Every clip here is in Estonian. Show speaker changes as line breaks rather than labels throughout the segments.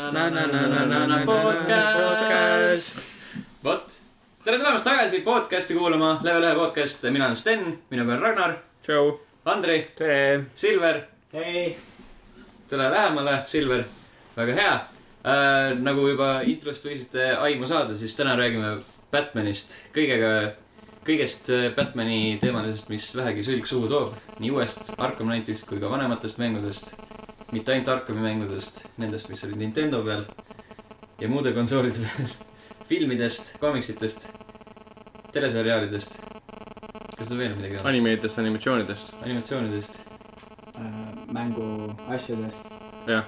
na-na-na-na-na-na-na-na podcast .
vot , tere tulemast tagasi podcast'i kuulama , level ühe podcast , mina olen Sten , minuga on Ragnar ,
tšau .
Andrei ,
tere .
Silver .
hei ,
tule lähemale , Silver , väga hea äh, . nagu juba introst võisite aimu saada , siis täna räägime Batmanist , kõigega , kõigest äh, Batmani teemalisest , mis vähegi sülg suhu toob . nii uuest Arkham Knightist kui ka vanematest mängudest . mitte ainult Arkhami mängudest , nendest , mis olid Nintendo peal ja muude konsoolide peal . filmidest , komiksitest , teleseriaalidest . kas teil veel midagi on ?
animeetest , animatsioonidest .
animatsioonidest .
äh, mängu asjadest .
jah ,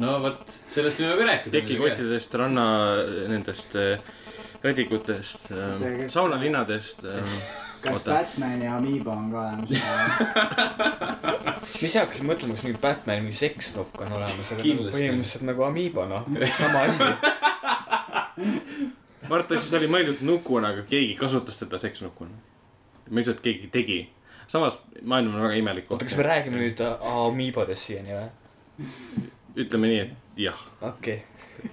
no vot , sellest võime ka rääkida .
tekikottidest , ranna nendest äh, rädikutest
Oota,
äh, ,
kes-
saunalinnadest äh, .
kas
Oota.
Oota. Batman ja Amiibo on ka olemas ?
ma ise hakkasin mõtlema , kas mingi Batman mingi sekskokk on olemas , aga nagu
Kindlasti.
põhimõtteliselt nagu Amiibo noh , sama asi .
Marta siis oli mõeldud nukuna , aga keegi kasutas teda seksnukuna . ma ei usu , et keegi tegi . samas maailm on väga imelik
oota , kas me räägime ? nüüd äh, Amiibodest siiani või ?
ütleme nii , et jah ,
okei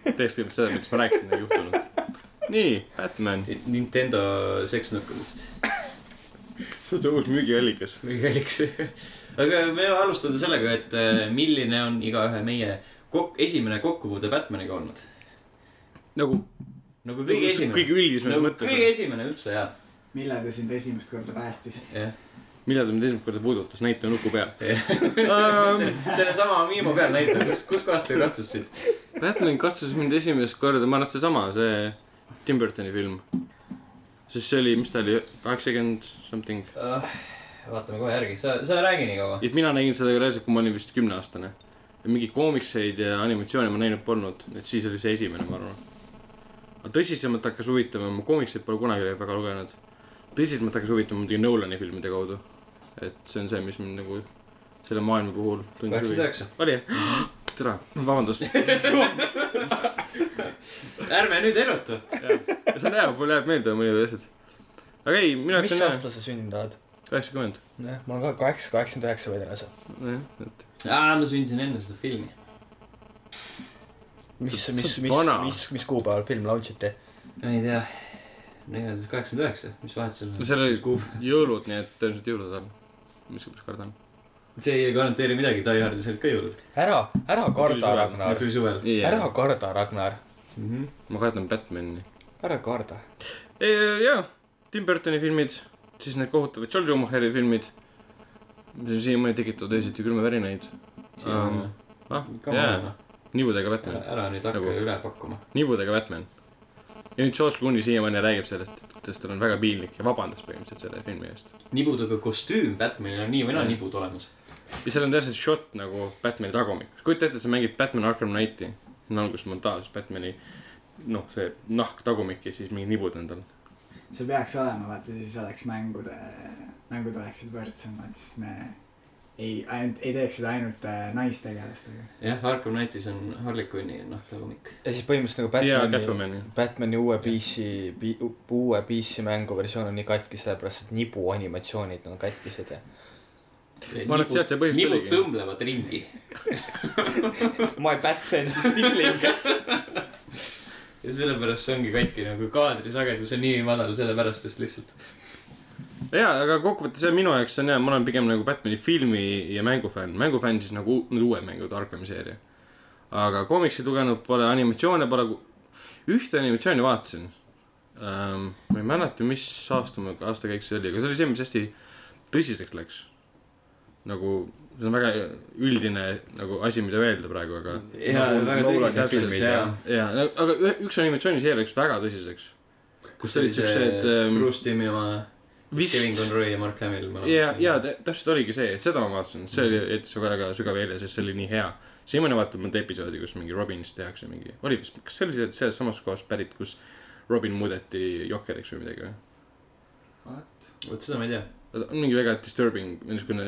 teeks kõigepealt seda , miks ma rääkisin , ei juhtunud . nii , Batman ,
Nintendo seksnukkudest ,
see on see uus müügiallikas .
mingi alliks . aga me võime alustada sellega , et äh, milline on igaühe meie kok- , esimene kokkupuude Batmaniga olnud .
nagu
nagu kõige esimene .
kõige üldisemas
nagu
mõttes
kõige . esimene üldse ja ,
millal ta sind esimest korda päästis ?
jah .
millal ta mind esimest korda puudutas , näita nuku peal .
sellesama Miimo peal näitab , kus , kuskohast te katsusite .
Batman katsus mind esimest korda , ma arvan , et seesama , see Tim Burtoni film . sest see oli , mis ta oli , kaheksakümmend something .
Ah, vaatame kohe järgi , sa , sa räägi nii kaua .
et mina nägin seda reaalselt , kui ma olin vist kümneaastane . mingeid koomikseid ja animatsioone ma näinud polnud , et siis oli see esimene , ma arvan . aga tõsisemalt hakkas huvitama , ma koomikseid pole kunagi väga lugenud . tõsisemalt hakkas huvitama muidugi Nolani filmide kaudu . et see on see , mis mind nagu selle maailma puhul tundis
kaheksakümmend
huvi .
üheksa .
oli jah ? tere , vabandust .
ärme nüüd erutu .
see on hea , mul jääb meelde mõned asjad . aga ei , minu jaoks
okay. . mis
on hea .
aasta sa sündinud oled ?
kaheksakümmend .
nojah , ma olen ka kaheksa , kaheksakümmend üheksa vedelase .
jah , et
aa , ma sündisin enne seda filmi .
mis
Sa- ,
mis
sa , oled
mis
vana. ,
mis , mis kuupäeval film launch iti ?
ma ei tea , igatahes kaheksakümmend üheksa , mis vahet seal
no
on .
seal
Mis kuupäev?
olid jõulud , nii et tõenäoliselt jõulud on . miskipärast kardan .
see ei garanteeri midagi , Die Hardis olid ka jõulud .
ära , ära
tuli
karda ,
suvel.
Ragnar .
tuli suvel .
ära karda , Ragnar .
ma kardan Batman'i .
ära karda .
jaa , Tim Burtoni filmid , siis need kohutavad George Schumacheri filmid , mis on siiamaani tekitavad öösiti külmavärinaid . Um, ah , jaa , nibudega
noh. ära
Batman ,
ära nüüd hakka
Nagu-
üle pakkuma .
nibudega Batman . ja nüüd George Clooney siiamaani räägib sellest , et tal on väga piinlik ja vabandas põhimõtteliselt selle filmi eest .
nibudega kostüüm Batmanil on nii või naa
Jah.
nibud olemas .
ja seal on täpselt shot nagu Batmani tagumikus , kujuta ette , sa mängid Batman Arkham Knighti , see on alguses montaaž , Batmani noh , see nahk tagumik ja siis mingi nibud on tal .
see peaks olema , vaata siis oleks mängude , mängud oleksid võrdsemad , siis me ei , ainult , ei teeks seda ainult äh, naistegelastega .
jah , Arkham Knightis on noh, Harley Quinni nahtagumik .
ja siis põhimõtteliselt nagu
ja
Batmani ,
Catwoman ,
Batmani uue PC , uue PC mänguversioon on nii katki sellepärast , et nibu animatsioonid on katkised ja .
Ma arvan, et sealt see põhjus
nibud
tuligi.
tõmblevad ringi .
My bat sense is tingling .
ja sellepärast see ongi katki nagu kaadrisagedus on nii madal , sellepärast just lihtsalt .
ja , aga kokkuvõttes jah , minu jaoks on hea , ma olen pigem nagu Batmani filmi ja mängufänn , mängufänn siis nagu u- nüüd uue mängu Arkhami seeria . aga koomiksi lugenud pole , animatsioone pole , ühte animatsiooni vaatasin ähm, . ma ei mäleta , mis aasta , aastakäik see oli , aga see oli see , mis hästi tõsiseks läks . nagu see on väga üldine nagu asi , mida öelda praegu , aga .
ja
Nagu
väga
Nolan'i
tõsiselt täpselt ,
filmid,
jaa
jah.
ja , aga ühe- üks animatsiooniseeria läks väga tõsiseks .
kus
olid
oli
siuksed,
see
ähm,
Bruce Timmi oma , Kevin
vist
Conroy ja Mark Hamill mõlemad .
ja , ja tä- täpselt oligi see , et seda ma vaatasin , see oli , jättis väga , väga sügav jälje , sest see oli nii hea . siiamaani vaatan mõnda episoodi , kus mingi Robinist tehakse mingi , oli vist , kas see oli see- selles samas kohas pärit , kus Robin muudeti Jokeriks või midagi või ?
vot seda ma ei tea .
mingi väga disturbing , niisugune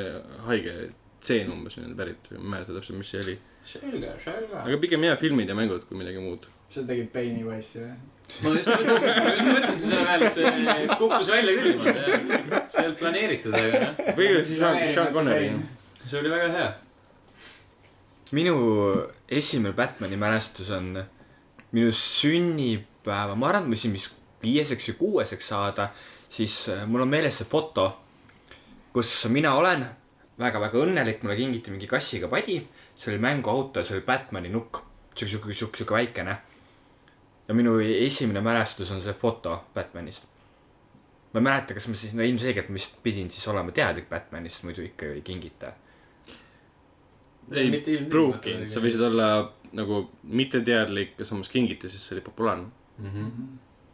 haige tseen umbes nii-öelda pärit , ma ei mäleta täpselt , mis see oli .
selge , selge .
aga pigem jah , filmid ja mängud kui midagi muud .
sa tegid Pennywise'i või ?
ma just mõtlesin , ma just mõtlesin selle peale , et see kukkus välja küll niimoodi , see ei olnud planeeritud , aga noh ,
või oli see Sean , Sean Connery .
see oli väga hea .
minu esimene Batman'i mälestus on minu sünnipäeva , ma arvan , et ma siin vist viieseks või kuueseks saada , siis äh, mul on meeles see foto , kus mina olen väga-väga õnnelik , mulle kingiti mingi kassiga padi , see oli mänguauto ja see oli Batman'i nukk , sihuke , sihuke , sihuke , sihuke väikene . ja minu esimene mälestus on see foto Batman'ist . ma ei mäleta , kas ma siis , no ilmselgelt ma vist pidin siis olema teadlik Batman'ist , muidu ikka ju ei kingita .
ei pruugi , sa . võisid olla nagu mitteteadlik ja samas kingiti , sest see oli populaarne .
Mhm.
Mhm.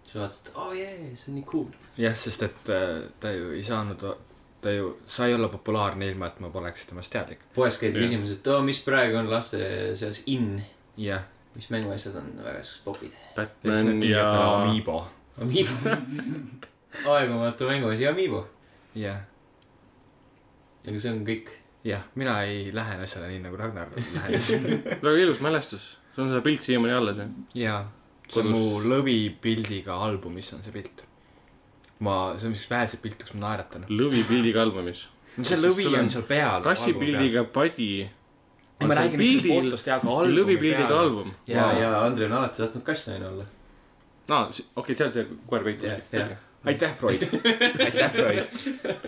sa vaatasid , oo jee , see on nii cool .
jah , sest et äh, ta ju ei saanud , ta ju sai olla populaarne ilma , et ma poleks temast teadlik .
poes käidi
Jah.
küsimas , et oo , mis praegu on laste seas in ,
jah ,
mis mänguasjad on väga siuksed popid .
ja siis nad
Batman ja
kingitavad ja... Amiibo .
Amiibo . aegumatu mänguasi Amiibo .
jah ,
aga see on kõik .
jah , mina ei lähene asjale nii nagu Ragnar lähenes .
väga ilus mälestus , sul on seda pilt siiamaani alles ju .
jaa , see on
Kodus.
mu lõvipildiga albumis on see pilt . ma , see on üks väheseid pilte , kus ma naeratan .
lõvipildiga albumis .
no see
Kas
lõvi
sul on
on seal peal .
kassipildiga padi .
ei , ma räägin nüüd siis fotost , jaa , aga albumi
lõvipildiga
peal .
album .
ja
Jaa. ,
ja Andrei on alati tahtnud kassnaine olla .
aa , okei , seal see koer peitus
Jah, jah. .
aitäh , Freud . aitäh , Freud .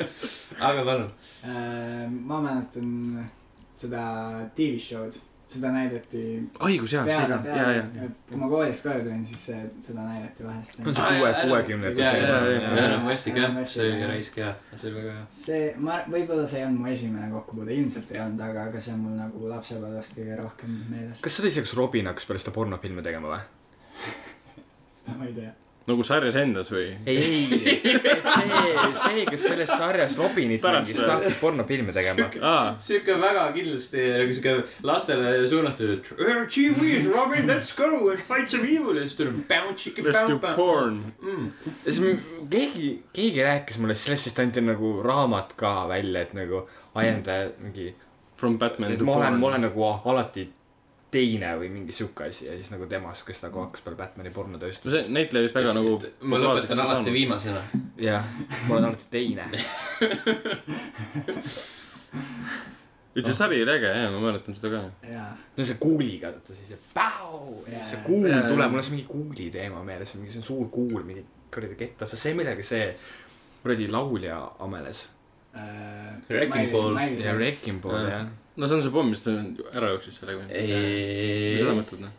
aga palun .
Äh, ma mäletan seda tv-show'd , seda näidati
haigus jaa ,
peale
seega , Ah, jaa , jaa .
peale , kui ma koolist koju tulin , siis see , seda näidati vahest
on see
Aa,
kuue
jaa, ,
kuuekümnendate
ja , ja ,
jaa,
ja ,
jaa.
ja
teema .
enam hästi
Aaron
ka ,
Westi,
see oli
jah.
raisk hea , see oli väga hea .
see , ma , võib-olla see ei olnud mu esimene kokkupuude , ilmselt ei olnud , aga , aga see on mul nagu lapsepõlvest kõige rohkem meeles .
kas see oli see , kus Robin hakkas pärast seda pornofilme tegema või ?
seda ma ei tea .
nagu sarjas endas või ?
ei , ei , see , see , kes selles sarjas Robinit
Pärast
mängis ,
või?
ta hakkas pornofilme tegema .
aa ,
sihuke väga kindlasti nagu sihuke lastele suunatud , et "Eh, gee whiz , Robin , let's go and fight some evil ja siis tuleb päu , tšiki ,
let's do
päu , päu .
porn .
Mm.
ja siis m- keegi , keegi rääkis mulle , sellest vist anti nagu raamat ka välja , et nagu I am the mingi ,
From Batman
et
to
ma olen ,
porn
ma . olen nagu alati teine või mingi sihuke asi ja siis nagu temast , kes nagu hakkas peale Batman'i
no see
pornotööstuses .
näitleja vist väga nagu .
ma lõpetan alati . viimasena .
jah , ma olen alati teine .
üldse sari oli äge jah , ma mäletan seda ka .
jaa ,
no see kuuliga , vaata siis see päu ja siis see kuul
Jaa.
tuleb , mul on see mingi kuuli teema meeles , mingi see on suur kuul , mingi kuradi kettas , see millega see kuradi laulja ameles .
äh,
Wrecking Ball.
ja Wrecking Ball
Jaa.
jah .
no see on see pomm , mis ta ära jooksis sellega . mis sa mõtled noh ?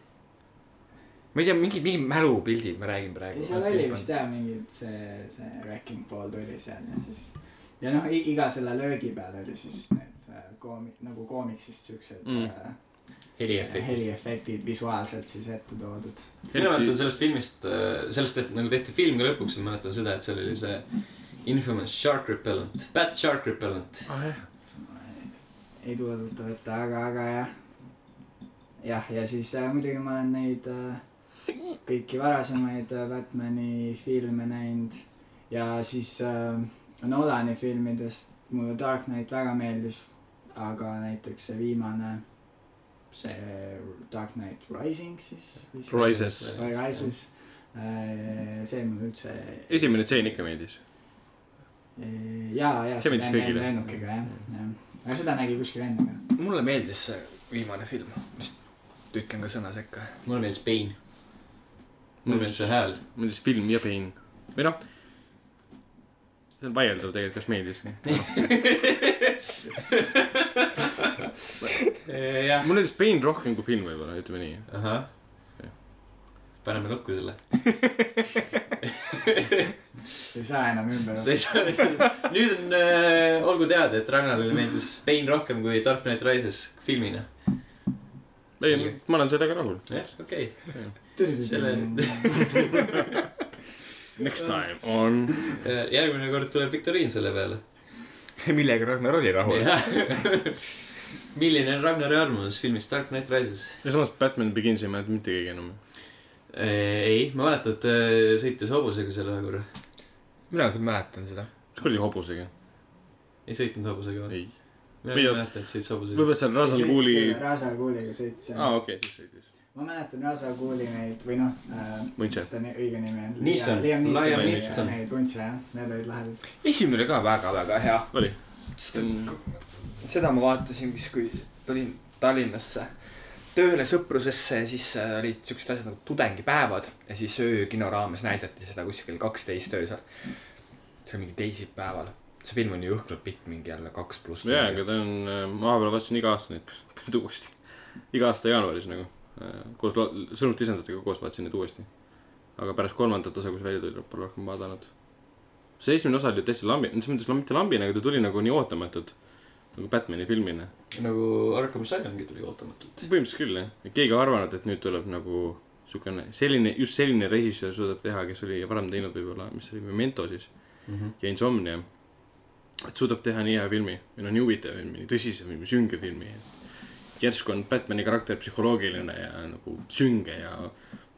ma ei tea , mingi , mingi mälupildid ma räägin praegu .
ei , seal oli vist jah mingi see , see Wrecking Ball tuli seal ja siis ja noh , iga selle löögi peal oli siis need äh, koomi- , nagu koomiksist siuksed
Mm.
mm.
heliefektid .
heliefektid visuaalselt siis ette toodud .
mina mäletan sellest filmist , sellest tehti nagu tehti film ka lõpuks , ma mäletan seda , et seal oli see infamous shark repellent , bat shark repellent .
Ah,
ei tule tuttav ette , aga , aga jah . jah , ja siis äh, muidugi ma olen neid äh, kõiki varasemaid äh, Batman'i filme näinud ja siis äh, Nolani filmidest mulle Dark Knight väga meeldis , aga näiteks see viimane , see Dark Knight Rising siis .
Rises.
või Rises , see mulle üldse .
esimene tseen ikka meeldis .
jaa , jaa .
See meeldis kõigile. Mm.
lennukiga jah , jah . aga seda nägi kuskil enne ka .
mulle meeldis see viimane film , mis tükkan ka sõna sekka .
mulle meeldis Bane ,
Mm.
mulle meeldis see hääl .
meeldis film ja pein . või noh , see on vaieldav tegelikult , kas meeldis .
jah .
mulle meeldis pein rohkem kui film võib-olla , ütleme nii .
ahah . paneme lukku selle .
sa ei saa enam ümber .
sa ei saa , nüüd on äh, , olgu teada , et Ragnarile meeldis Bane rohkem kui Dark Knight Rises filmina .
ei , ma olen sellega rahul .
jah , okei selle-
selle .
Next time on .
okay. . Äh, järgmine kord tuleb viktoriin selle peale .
millega Ragnar oli rahul .
milline on Ragnari arvamus filmist Dark Knight Rises ?
ja samas Batman Begins ei mäleta mitte keegi enam .
ei , ma mäletan , et äh, sõitis hobusega seal ühe korra .
mina küll mäletan seda .
kas kuradi hobusega ?
ei sõitnud hobusega või ?
ei .
mina ei
Pigem-
mäleta , et sõitis hobusega .
võib-olla seal Russell Cooley .
Rasa Kooliga sõitsin
aa , okei , siis sõitis .
ma mäletan Rasa Kooli neid või noh äh, ,
Vuntse.
mis ta ni- õige nimi on .
Neeson.
Liam
Liam
Neeson .
Neeson.
Neid Vuntse jah , need olid lahedad .
esimene oli ka väga-väga hea .
oli .
Mm. seda ma vaatasin vist , kui tulin Tallinnasse tööle sõprusesse ja siis äh, olid siuksed asjad nagu tudengipäevad ja siis öökino raames näidati seda kuskil kaksteist öösel . see oli mingi teisipäeval , see film on ju õhkralt pikk , mingi jälle kaks pluss .
jaa , aga ta on , ma vahepeal vaatasin iga aasta neid päris uuesti . iga aasta jaanuaris nagu äh, koos lo- sõnumite lisanditega koos vaatasin neid uuesti . aga pärast kolmandat osa , kui see välja tuli , pole rohkem vaadanud . see esimene osa oli täitsa lambi , selles mõttes lam- mitte lambine , aga ta tuli nagu nii ootamatult nagu Batman'i filmina .
nagu Arkham Asylumgi tuli ootamatult .
põhimõtteliselt küll jah , et keegi ei arvanud , et nüüd tuleb nagu siukene selline , just selline režissöör suudab teha , kes oli varem teinud võib-olla , mis see oli , Memento siis ja Insomnia . et suudab teha nii hea filmi või no nii huvitava filmi , nii tõsise filmi , sünge filmi . järsku on Batman'i karakter psühholoogiline ja nagu sünge ja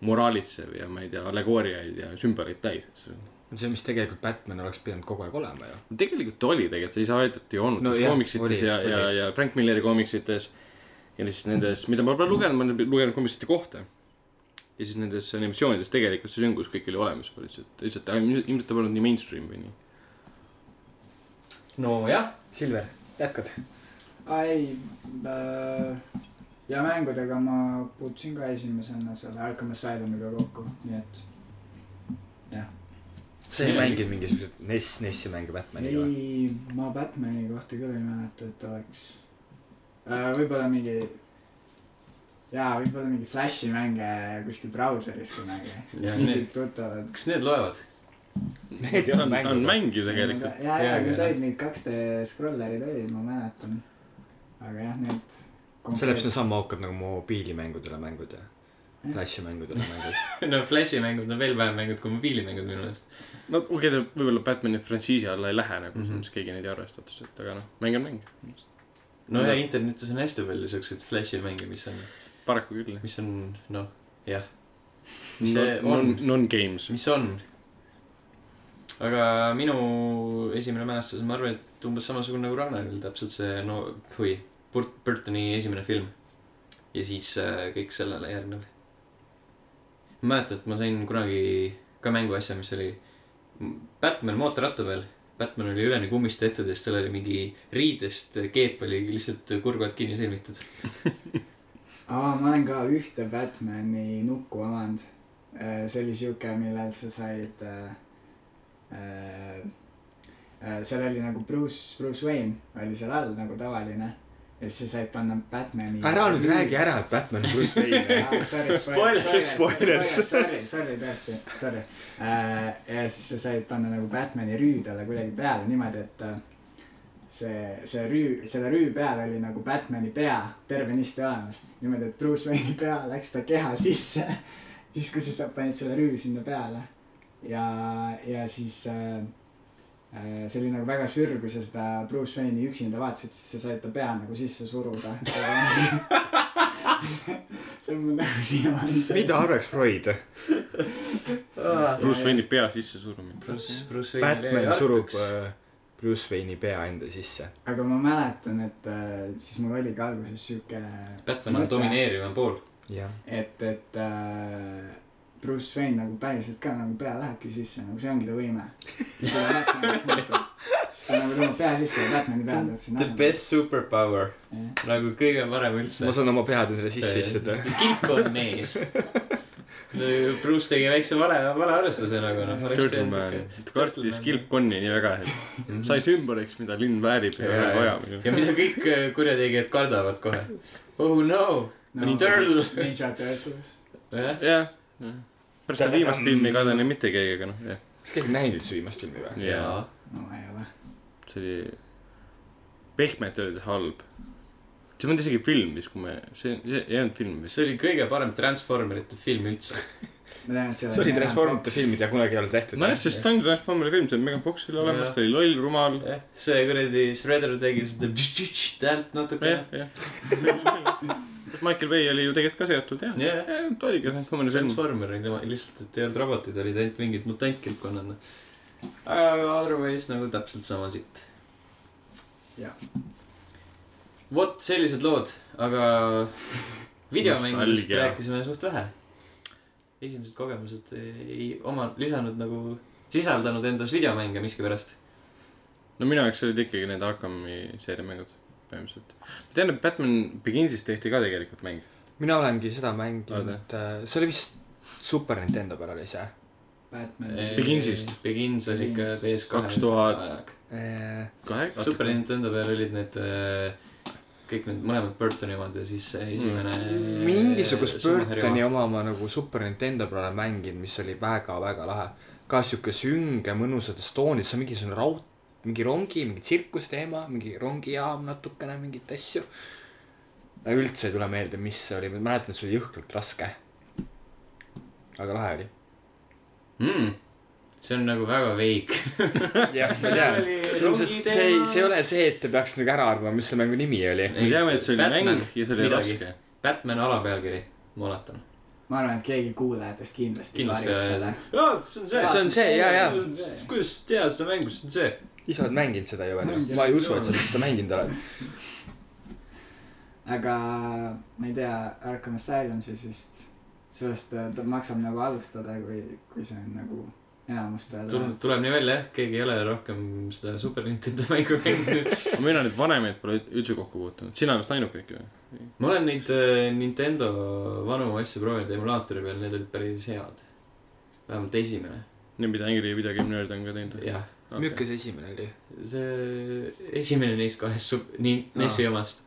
moraalitsev ja ma ei tea , allegooriaid ja sümboleid täis , et see
see , mis tegelikult Batman oleks pidanud kogu aeg olema ju .
tegelikult oli tegelikult , sa ei saa öelda , et ei olnud
No
no, , sest
jah,
koomiksites
oli,
ja , ja ,
oli.
ja Frank Milleri koomiksites ja siis nendes , mida ma pole lugenud , ma olen lugenud koomiksite kohta . ja siis nendes animatsioonides tegelikult see süngus kõik oli olemas , lihtsalt , lihtsalt ta- ilmselt ta polnud nii mainstream või nii .
nojah ,
Silver , jätkad ?
aa ei äh, , ja mängudega ma puutusin ka esimesena selle Arkham Asylumiga kokku , nii et
sa ei mänginud mingisuguseid NES , NES-i mänge Batmaniga või ?
ei , ma Batmani kohta küll ei mäleta , et oleks äh, . võib-olla mingi , jaa , võib-olla mingi Flashi mänge kuskil brauseris kunagi .
ja need ,
mingid tuttavad .
kas need loevad ?
Need ei
ta
olnud
on , ta on
mängud .
mäng ju tegelikult .
ja , ja
Jaa,
need
jaa.
olid need 2D scrollerid olid , ma mäletan . aga jah , need .
sellepärast on sama haukad nagu mobiilimängudele mängud ja klassimängudele mängud .
no Flashi mängud on veel vähem mängud kui mobiilimängud minu meelest .
no okei okay, , ta võib-olla Batman'i frantsiisi alla ei lähe nagu mm ,
Mhm.
-hmm. siis keegi neid ei arvesta otseselt , aga noh , mäng on mäng .
no ja internetis on hästi palju siukseid Flashi mänge , mis on ,
paraku küll .
mis on noh , jah , Mis see
Non
on? ,
non-games .
mis on . aga minu esimene mälestus , ma arvan , et umbes samasugune nagu Ragnaril , täpselt see no , või Burt- , Burtoni esimene film . ja siis äh, kõik sellele järgnev . ma mäletan , et ma sain kunagi ka mänguasja , mis oli Batman mootorratta peal . Batman oli üleni kummist tehtud ja siis tal oli mingi riidest keep oli lihtsalt kurgalt kinni sõlmitud .
aa , ma olen ka ühte Batmani nukku omanud . see oli siuke , millel sa said äh, . Äh, äh, seal oli nagu Bruce , Bruce Wayne oli seal all nagu tavaline ja siis sa said panna Batmani .
ära nüüd räägi . ära , et Batman on Bruce Wayne .
Sorry ,
Spoiler,
spoiler , spoiler ,
spoiler.
sorry , sorry , tõesti , sorry . ja siis sa said panna nagu Batmani rüü talle kuidagi peale niimoodi , et äh, see , see rüü , selle rüü peal oli nagu Batmani pea tervenisti olemas . niimoodi , et Bruce Wayne'i pea läks ta keha sisse . siis , kui sa sa- panid selle rüü sinna peale ja , ja siis äh, äh, see oli nagu väga sürg , kui sa seda Bruce Wayne'i üksinda vaatasid , siis sa said ta pea nagu sisse suruda . see on mul nagu siiamaani .
mida arvaks Freud ?
Bruce Wayne'i pea sisse surumine .
Bruce , Bruce Wayne'i
Batman surub äh, Bruce Wayne'i pea enda sisse .
aga ma mäletan , et äh, siis mul oligi alguses sihuke ,
Batman on domineerivam pool .
jah .
et , et äh, Bruce Wayne nagu päriselt ka nagu pea lähebki sisse , nagu see ongi ta võime . siis ta nagu tõmbab pea sisse ja Batman'i pea tuleb sinna
The . best superpower ,
Eh?
nagu kõige parem üldse
ma . saan oma pead endale sisse istuda .
kilk on mees . Bruce tegi väikse vale , vale arvestuse nagu noh .
Turtleman , kartis . kilpkonni nii väga , et sai sümboliks , mida linn väärib ja
Mhm. Jaa,
väga
jaa.
vajab .
ja mida kõik äh, kurjategijad kardavad kohe . Oh no , turtle.
Ninja Turtles .
jah ,
jah , jah . pärast seda viimast filmi ei kadunud mitte keegi , aga noh , jah .
kas keegi näinud üldse viimast filmi või ?
ja
jaa .
no ma ei ole .
see oli pehmelt öeldes halb . see ei olnud isegi film vist , kui me , see see ei olnud film vist .
see oli kõige parem Transformerite film üldse .
ma tean , et see
see oli Transformerite . film , mida kunagi ei ole tehtud .
nojah , sest ta on Transformeri film , see on Megan Foxil olemas ,
Jah.
ta oli loll , rumal .
see kuradi Shredder tegi seda täht
jah
natukene ,.
jah . Michael Bay oli ju tegelikult ka seotud jah .
jah ,
ta oligi Transformeri film .
Transformer oli tema , lihtsalt , et ei olnud robotid , olid ainult mingid mutantkilpkonnad . aga otherwise nagu täpselt sama sitt .
Jah. .
vot sellised lood , aga videomängudest
Nostalgia.
rääkisime suht vähe . esimesed kogemused ei oma , lisanud nagu , sisaldanud endas videomänge miskipärast .
no minu jaoks olid ikkagi need Arkhami seeriamängud põhimõtteliselt . ma tean , et Batman Beginsis tehti ka tegelikult mäng .
mina olengi seda mänginud äh,
Oled, ,
see oli vist Super Nintendo peal oli see .
Batman .
Beginsist.
Begins oli ikka TS2
2000.
aeg .
Äh,
kahe ,
Super Nintendo peal olid need äh, kõik need mõlemad Burtoni omad ja siis see esimene mm.
mingisugust Burtoni . oma ma nagu Super Nintendo peal olen mänginud , mis oli väga-väga lahe . ka sihuke sünge mõnusates toonides , see on mingisugune raud , mingi rongi , mingi tsirkusteema , mingi rongijaam natukene , mingeid asju . üldse ei tule meelde , mis see oli , ma mäletan , see oli jõhkralt raske . aga lahe oli .
Mm. see on nagu väga veik .
jah , ma
See
tean .
oli
selles mõttes , et see ei , see ei ole see , et te peaks nagu ära arvama , mis selle mängu nimi oli .
me teame , et see oli
Batman.
mäng ja see oli
Midagi.
raske .
Batman alapealkiri , ma oletan .
ma arvan , et keegi kuulajatest kindlasti .
Kindlasti, jah, jah.
selle .
jaa , see on see .
See on see, jaa, jaa.
kuidas teha seda mängu , see on see .
ise oled mänginud seda ju ,
Mänginud.
ma ei usu , et sa seda mänginud oled .
aga ma ei tea , Arkham Asylum siis vist , sellest äh, ta maksab nagu alustada , kui , kui see on nagu enamustel .
tuleb , tuleb nii välja jah , keegi ei ole rohkem seda Super Nintendo mängu mänginud .
mina neid vanemaid pole üldse kokku puutunud , sina vist ainuke ikka või ?
ma olen neid äh, Nintendo vanu asju proovinud emulaatori peal , need olid päris head . vähemalt esimene ,
Need , mida Angry Video Game Nerd on ka teinud või ?
jah .
milline see esimene oli ?
see esimene neist kahest sup- , nii ,
Aa.
NES-i omast .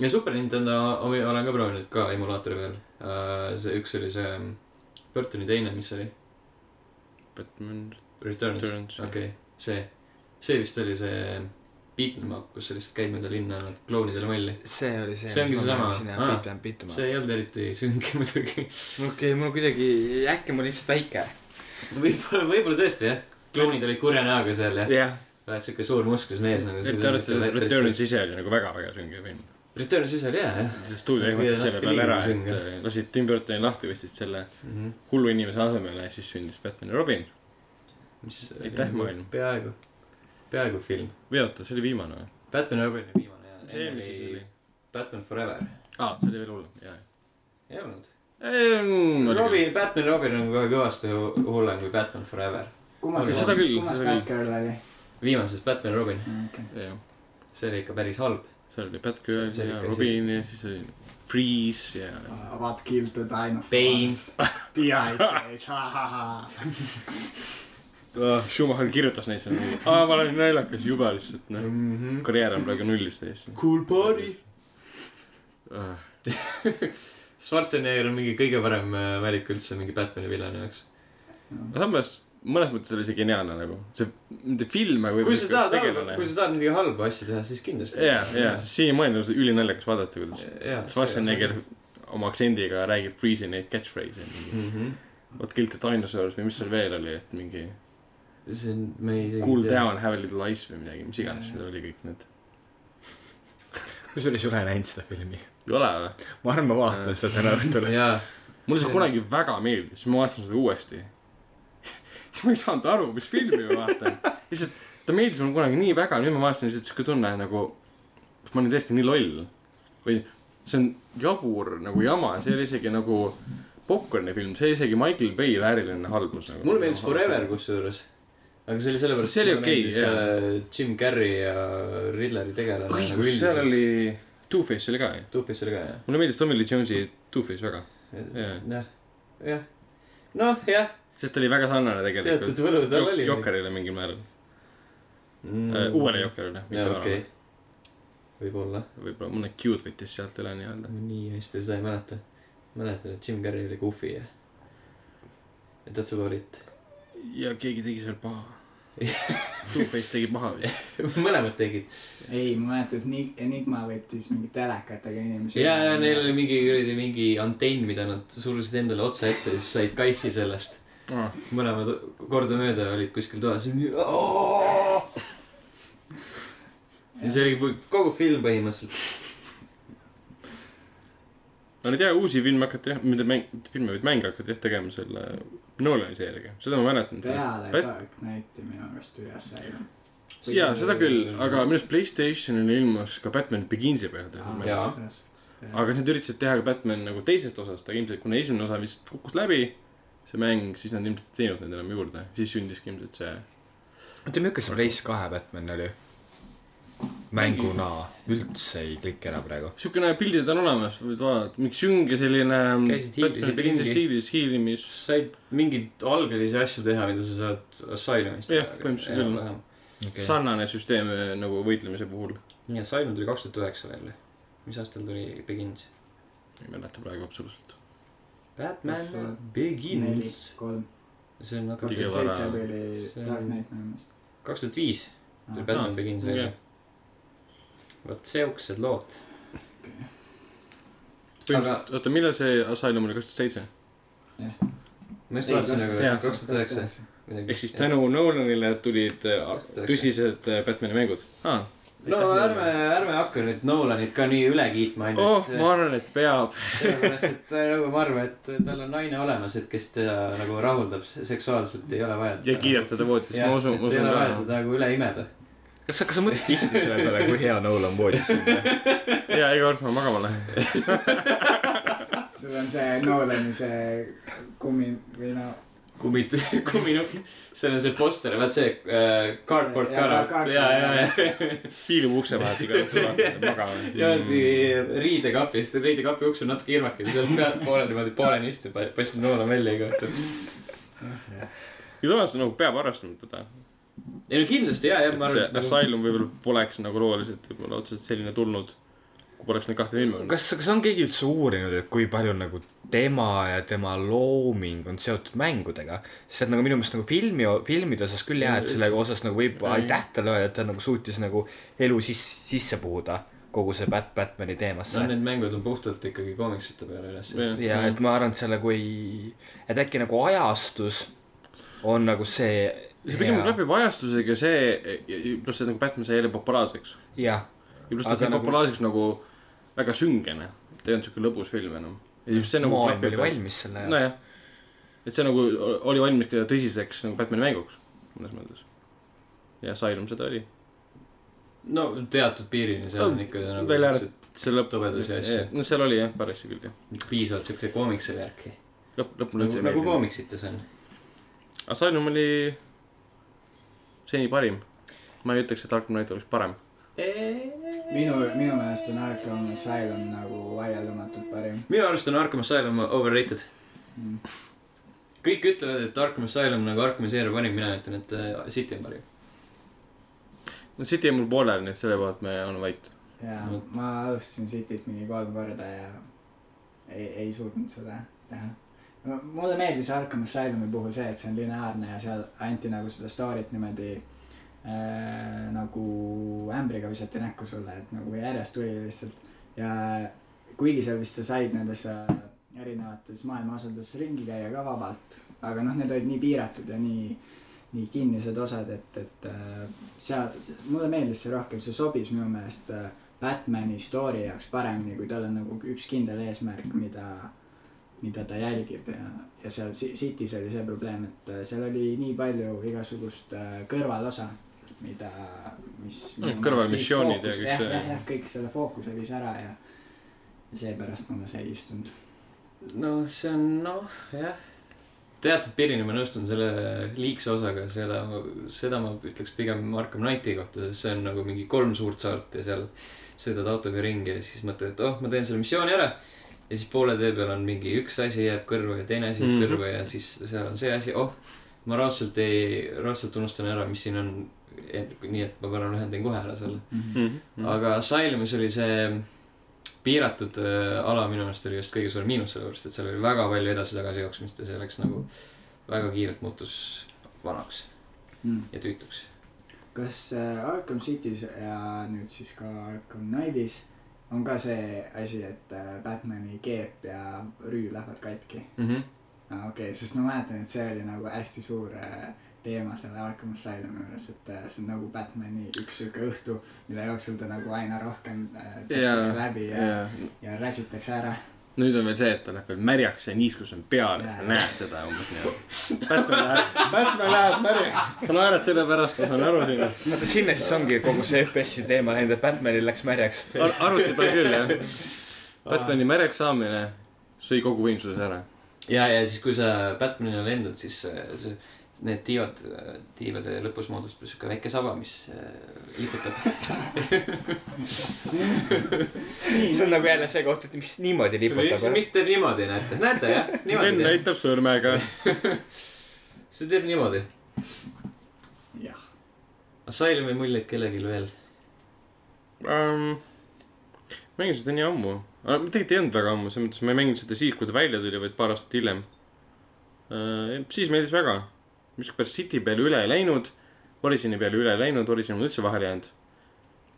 ja Super Nintendo omi olen ka proovinud ka emulaatori peal . see üks oli see ähm, Burtoni teine , mis oli ?
Batman
Returns .
Returns .
okei okay, , see , see vist oli see mm, beat'em up , kus sa lihtsalt käid mööda linna , annad klounidele malli .
see oli see .
See ongi seesama. Aa.
piitum , piitum .
see ei olnud eriti sünge muidugi .
okei , mul kuidagi , äkki ma olin lihtsalt väike .
võib-olla , võib-olla tõesti jah , klounid olid kurja näoga seal ja
jah .
oled siuke suur musklus mees nagu .
et te arvate , et Returns ise oli nagu väga-väga sünge film ?
Returns ise oli hea jah
see stuudio
Natuke-
ehmatas selle
natuke
peale ära , et
liiga
äh, lasid Tim Burtoni lahti , võtsid selle
mm . -hmm.
hullu inimese asemele ja siis sündis Batman ja Robin .
mis .
Aitäh, maailm.
peaaegu , peaaegu film .
või oota , see oli viimane või ?
Batman ja Robin oli viimane ja .
see eelmises oli ..
Batman Forever .
aa , see oli veel hullem , jaa .
ei olnud .
Robin .
Robin , Batman ja Robin on kohe kõvasti hu- hullem kui Batman Forever .
kummas
Aga seda ,
küll,
kummas
seda küll.
Batgirl oli ?
viimases Batman ja Robin ,
okei ,
jah ,
see oli ikka päris halb .
seal
See-
oli
see Ah.
Batgirl
oli
ja
ikka
Robin ja siis oli Freeze ja .
What killed the
Bane.
dinosaurs ? P.I.C.H. ha-ha-ha .
Ah, Schumacher kirjutas neid seal , aa , ma olen naljakas juba lihtsalt , noh . karjäär on praegu nullis täiesti .
Cool party .
Ah,
Schwarzenegger on mingi kõige parem äh, valik üldse mingi Batman'i villani jaoks .
aga samas mõnes mõttes oli see geniaalne nagu , see , mitte film , aga
kui sa tahad halba ,
tegelane
kui . sa tahad midagi halba asja teha , siis kindlasti .
jaa , jaa , siiamaani on see ülinaljakas vaadata , kuidas Schwarzenegger oma aktsendiga räägib Freeze'i neid catchphrase'e .
Mhm.
What killed the dinosaurs või mis seal veel oli , et mingi
see on , me ei .
cool . down , have a little ice või midagi , mis iganes , mida oli kõik need .
kusjuures ei ole näinud seda filmi .
ei ole või ?
ma arvan , ma vaatan seda täna õhtul .
jaa ,
mulle see
See-
kunagi väga meeldis , siis ma vaatasin seda uuesti . ma ei saanud aru , mis filmi ma vaatan . lihtsalt ta meeldis mulle kunagi nii väga , nüüd ma vaatasin lihtsalt siuke tunne nagu , kas ma olin tõesti nii loll või see on jabur nagu jama , see oli isegi nagu popkorni film , see oli isegi Michael Bay vääriline halbus nagu .
mulle meeldis Forever . kusjuures . aga see oli sellepärast .
See oli okei,
jaa . Jim Carrey ja Riddleri tegelane .
õigus , Nagu seal . oli , Two-Face oli ka ju .
Tufis oli ka jah .
mulle meeldis Tommy Lee Jones'i Two-Face väga , Jaa.
jah , jah . noh , jah ,
sest ta oli väga sarnane
teatud
tegelikult .
võlu tal oli .
Jokkerile mingil määral mm. , uuele . Jokkerile , mitte
jaa ,
vanale
okei . võib-olla .
võib-olla mõne cute võttis sealt üle nii-öelda .
ma nii hästi seda ei mäleta . mäletan , et Jim Carrey oli Goofy ja . et that's about it .
ja keegi tegi seal paha . Two-Face tegi paha vist .
mõlemad tegid .
ei , ma mäletan , et Ni- Enigma võttis mingi telekatega inimesi .
ja , ja neil oli mingi kuradi mingi antenn , mida nad surusid endale otsa ette ja siis said kaifi sellest . mõlemad kordamööda olid kuskil toas .
Oh!
ja see oli pu- kogu film põhimõtteliselt .
aga nüüd jaa , uusi filme hakati jah , mitte mäng , mitte filme , vaid mänge hakati jah tegema selle Nolani seeriaga , seda ma mäletan .
peale
Bat-
Dark Knighti minu arust üles jäi .
jaa , seda küll , aga minu arust Playstationil ilmus ka Batman Beginsi peal tehtud mäng .
jaa. .
aga siis nad üritasid teha ka Batman nagu teisest osast , aga ilmselt kuna esimene osa vist kukkus läbi , see mäng , siis nad ilmselt ei teinud neid enam juurde , siis sündiski ilmselt see .
oota , milline see Blaze kahe Batman oli ? mänguna üldse ei kliki ära praegu .
siukene pildid on olemas , võid vaadata , mingi sünge selline .
Käisid hiilisid ringi.
stiilis hiilimis .
said mingeid algelisi asju teha , mida sa saad Asylumist
Jah, põhimõtteliselt küll. . sarnane süsteem eh, nagu võitlemise puhul .
nii , Asylum tuli kaks tuhat üheksa välja . mis aastal tuli Begins ?
ei mäleta praegu absoluutselt .
Batman
Kas- neli
Begins .,
kolm ,
see on
kaks
natuke
Kõige
tuhat
vara-
seitse tuli
see on-
Dark Knight minu meelest .
kaks tuhat viis tuli
Ah.
Batman
Ah,
Begins
jah.
välja . vot siuksed lood .
põhimõtteliselt , oota , millal see Asylum oli , kaks tuhat seitse ?
ma just
Ei,
vaatasin
kaks-
nagu
jah,
kaks tuhat üheksa .
ehk siis tänu Nolanile tulid eh,
Kaks tuhat üheksa.
tõsised eh, Batmani mängud ah, .
no ärme , ärme hakka nüüd Nolanit ka nii üle kiitma
oh , ma
ainult .
arvan , et peab .
sellepärast , et ta- nagu ma arvan , et tal on naine olemas , et kes teda nagu rahuldab se- seksuaalselt , ei ole vaja .
ja kiidab teda voodis ,
jah ,
ma usun , ma
et ei
usun
ole vaja
ka .
teda nagu üle imeda .
kas sa , kas sa mõtled tihti selle peale , kui hea Nolan voodis on või ?
ja iga kord ma magama lähen .
sul on see Nolani see kummi või no .
kummid , kumminukk , seal on see poster , vaat see äh, cardboard
See- jaa,
cutout
cardboard,
ja , ja , ja ,
piilub ukse vahelt iga õhtu vaatan , magan .
niimoodi riidekapist , riidekapi uks on natuke irvakene , seal pealt poole niimoodi pooleni istub , paistab noola välja iga õhtu .
ja samas nagu peab arvestama teda .
ei no kindlasti ja , ja
et
ma
see
arvan , et nagu,
Asylum võib-olla poleks nagu looliselt võib-olla otseselt selline tulnud , kui poleks neid kahte filmi olnud .
kas , kas on keegi üldse uurinud , et kui palju nagu tema ja tema looming on seotud mängudega ? sest et nagu minu meelest nagu filmi , filmide osas küll jah , et selle osas nagu võib
Ei.
aitäh talle öelda , et ta nagu suutis nagu elu sisse , sisse puhuda kogu see Bat- , Batmani teemasse
no . need mängud on puhtalt ikkagi koomiksite peale üles
Jah.
ehitatud.
ja et ma arvan , et selle kui , et äkki nagu ajastus on nagu see .
see pigem klapib ajastusega ja see , pluss see nagu Batman sai jälle populaarseks .
jah ,
ja pluss ta
Aga
sai
nagu-
populaarseks nagu väga süngene . ta ei olnud siuke lõbus film enam . ja just see nagu
maailm oli
klapib .
valmis selle jaoks .
nojah , et see nagu o- oli valmis ka tõsiseks nagu Batmani mänguks , mõnes mõttes . ja Asylum seda oli .
no teatud piirini seal on
No,
ikka nagu
välja
siuksed
see lõpp .
Tobedas ja asju.
no seal oli jah , paar asja küll jah .
piisavalt siukse koomikse värki .
lõpp , lõpp mulle
nagu
üldse ei
nagu
meeldinud .
koomiksites on .
Asylum oli seni parim . ma ei ütleks , et Arkham Knight oleks parem .
minu , minu meelest on Arkham Asylum nagu vaieldamatult parim .
minu arust on Arkham Asylum overrated
Mm. .
kõik ütlevad , et Arkham Asylum nagu Arkham'i seeria parim , mina ütlen , et äh, City on parim .
no City on mul pooleli , nii et selle kohalt me oleme vait .
ja
Vot.
ma alustasin Cityt mingi kolm korda ja ei , ei suutnud seda teha . mulle meeldis Arkham Asylumi puhul see , et see on lineaarne ja seal anti nagu seda story't niimoodi äh, nagu ämbriga visati näkku sulle , et nagu järjest tuli lihtsalt ja kuigi seal vist sa said nendes äh, erinevates maailma osades ringi käia ka vabalt , aga noh , need olid nii piiratud ja nii , nii kinnised osad , et , et äh, seal , mulle meeldis see rohkem , see sobis minu meelest äh, Batman'i story jaoks paremini , kui tal on nagu üks kindel eesmärk , mida , mida ta jälgib ja , ja seal Ci- City's oli see probleem , et äh, seal oli nii palju igasugust äh, kõrvalosa , mida , mis .
No, Mm, kõrvalmissioonid ja kõik
kõik
see.
see . jah , jah , kõik selle fookuse viis ära ja ja seepärast mulle see ei istunud .
no see on noh , jah . teatud piirini ma nõustun selle liigse osaga , seda , seda ma ütleks pigem Arkham Knighti kohta , sest see on nagu mingi kolm suurt saart ja seal sõidad autoga ringi ja siis mõtled , et oh , ma teen selle missiooni ära . ja siis poole tee peal on mingi üks asi jääb kõrva ja teine asi jääb mm
Mhm.
-hmm. kõrva ja siis seal on see asi , oh , ma raudselt ei , raudselt unustan ära , mis siin on . nii et ma parem lähen teen kohe ära selle .
Mhm.
Mhm.
aga Asylumis oli see piiratud äh, ala minu meelest oli just kõige suurem miinus , sellepärast et seal oli väga palju edasi-tagasi jooksmist ja see läks nagu väga kiirelt muutus vanaks
Mm.
ja tüütuks .
kas äh, Arkham City's ja nüüd siis ka Arkham Knightis on ka see asi , et äh, Batman'i keep ja rüü lähevad katki ?
Mhm.
okei okay, , sest ma mäletan , et see oli nagu hästi suur äh, teema selle Arkham Asylumi juures , et äh, see on nagu Batman'i üks sihuke õhtu , mille jooksul ta nagu aina rohkem äh, tõstetakse
Jaa,
yeah, läbi ja yeah. ,
ja
ja räsitakse ära .
nüüd on veel see , et ta läheb veel märjaks ja niiskus on peal ja sa
Jaa.
näed seda umbes nii-öelda . Batman läheb , Batman läheb märjaks . sa naerad selle pärast , ma saan aru sinust .
no aga sinna siis ongi kogu see FPS-i teema läinud , et Batmanil läks märjaks .
arvuti peal küll jah . Batmani märjaks saamine sõi kogu võimsuse ära .
ja , ja siis , kui sa Batmanile lendad , siis see, see , need tiivad , tiivade lõpus moodustub sihuke väike saba , mis äh, liputab .
see on nagu jälle see koht , et mis niimoodi liputab .
mis teeb niimoodi , näete , näete jah ,
Sten
niimoodi teeb ,
näitab sõrmega .
see teeb niimoodi .
jah ,
Asylumi muljeid kellelgi veel ?
mängisin Ähm, seda nii ammu , tegelikult ei olnud väga ammu , selles mõttes ma ei mänginud seda siis , kui ta välja tuli , vaid paar aastat hiljem . siis meeldis väga , miskipärast City peale üle ei läinud , Origin'i peale üle ei läinud , Origin on üldse vahele jäänud .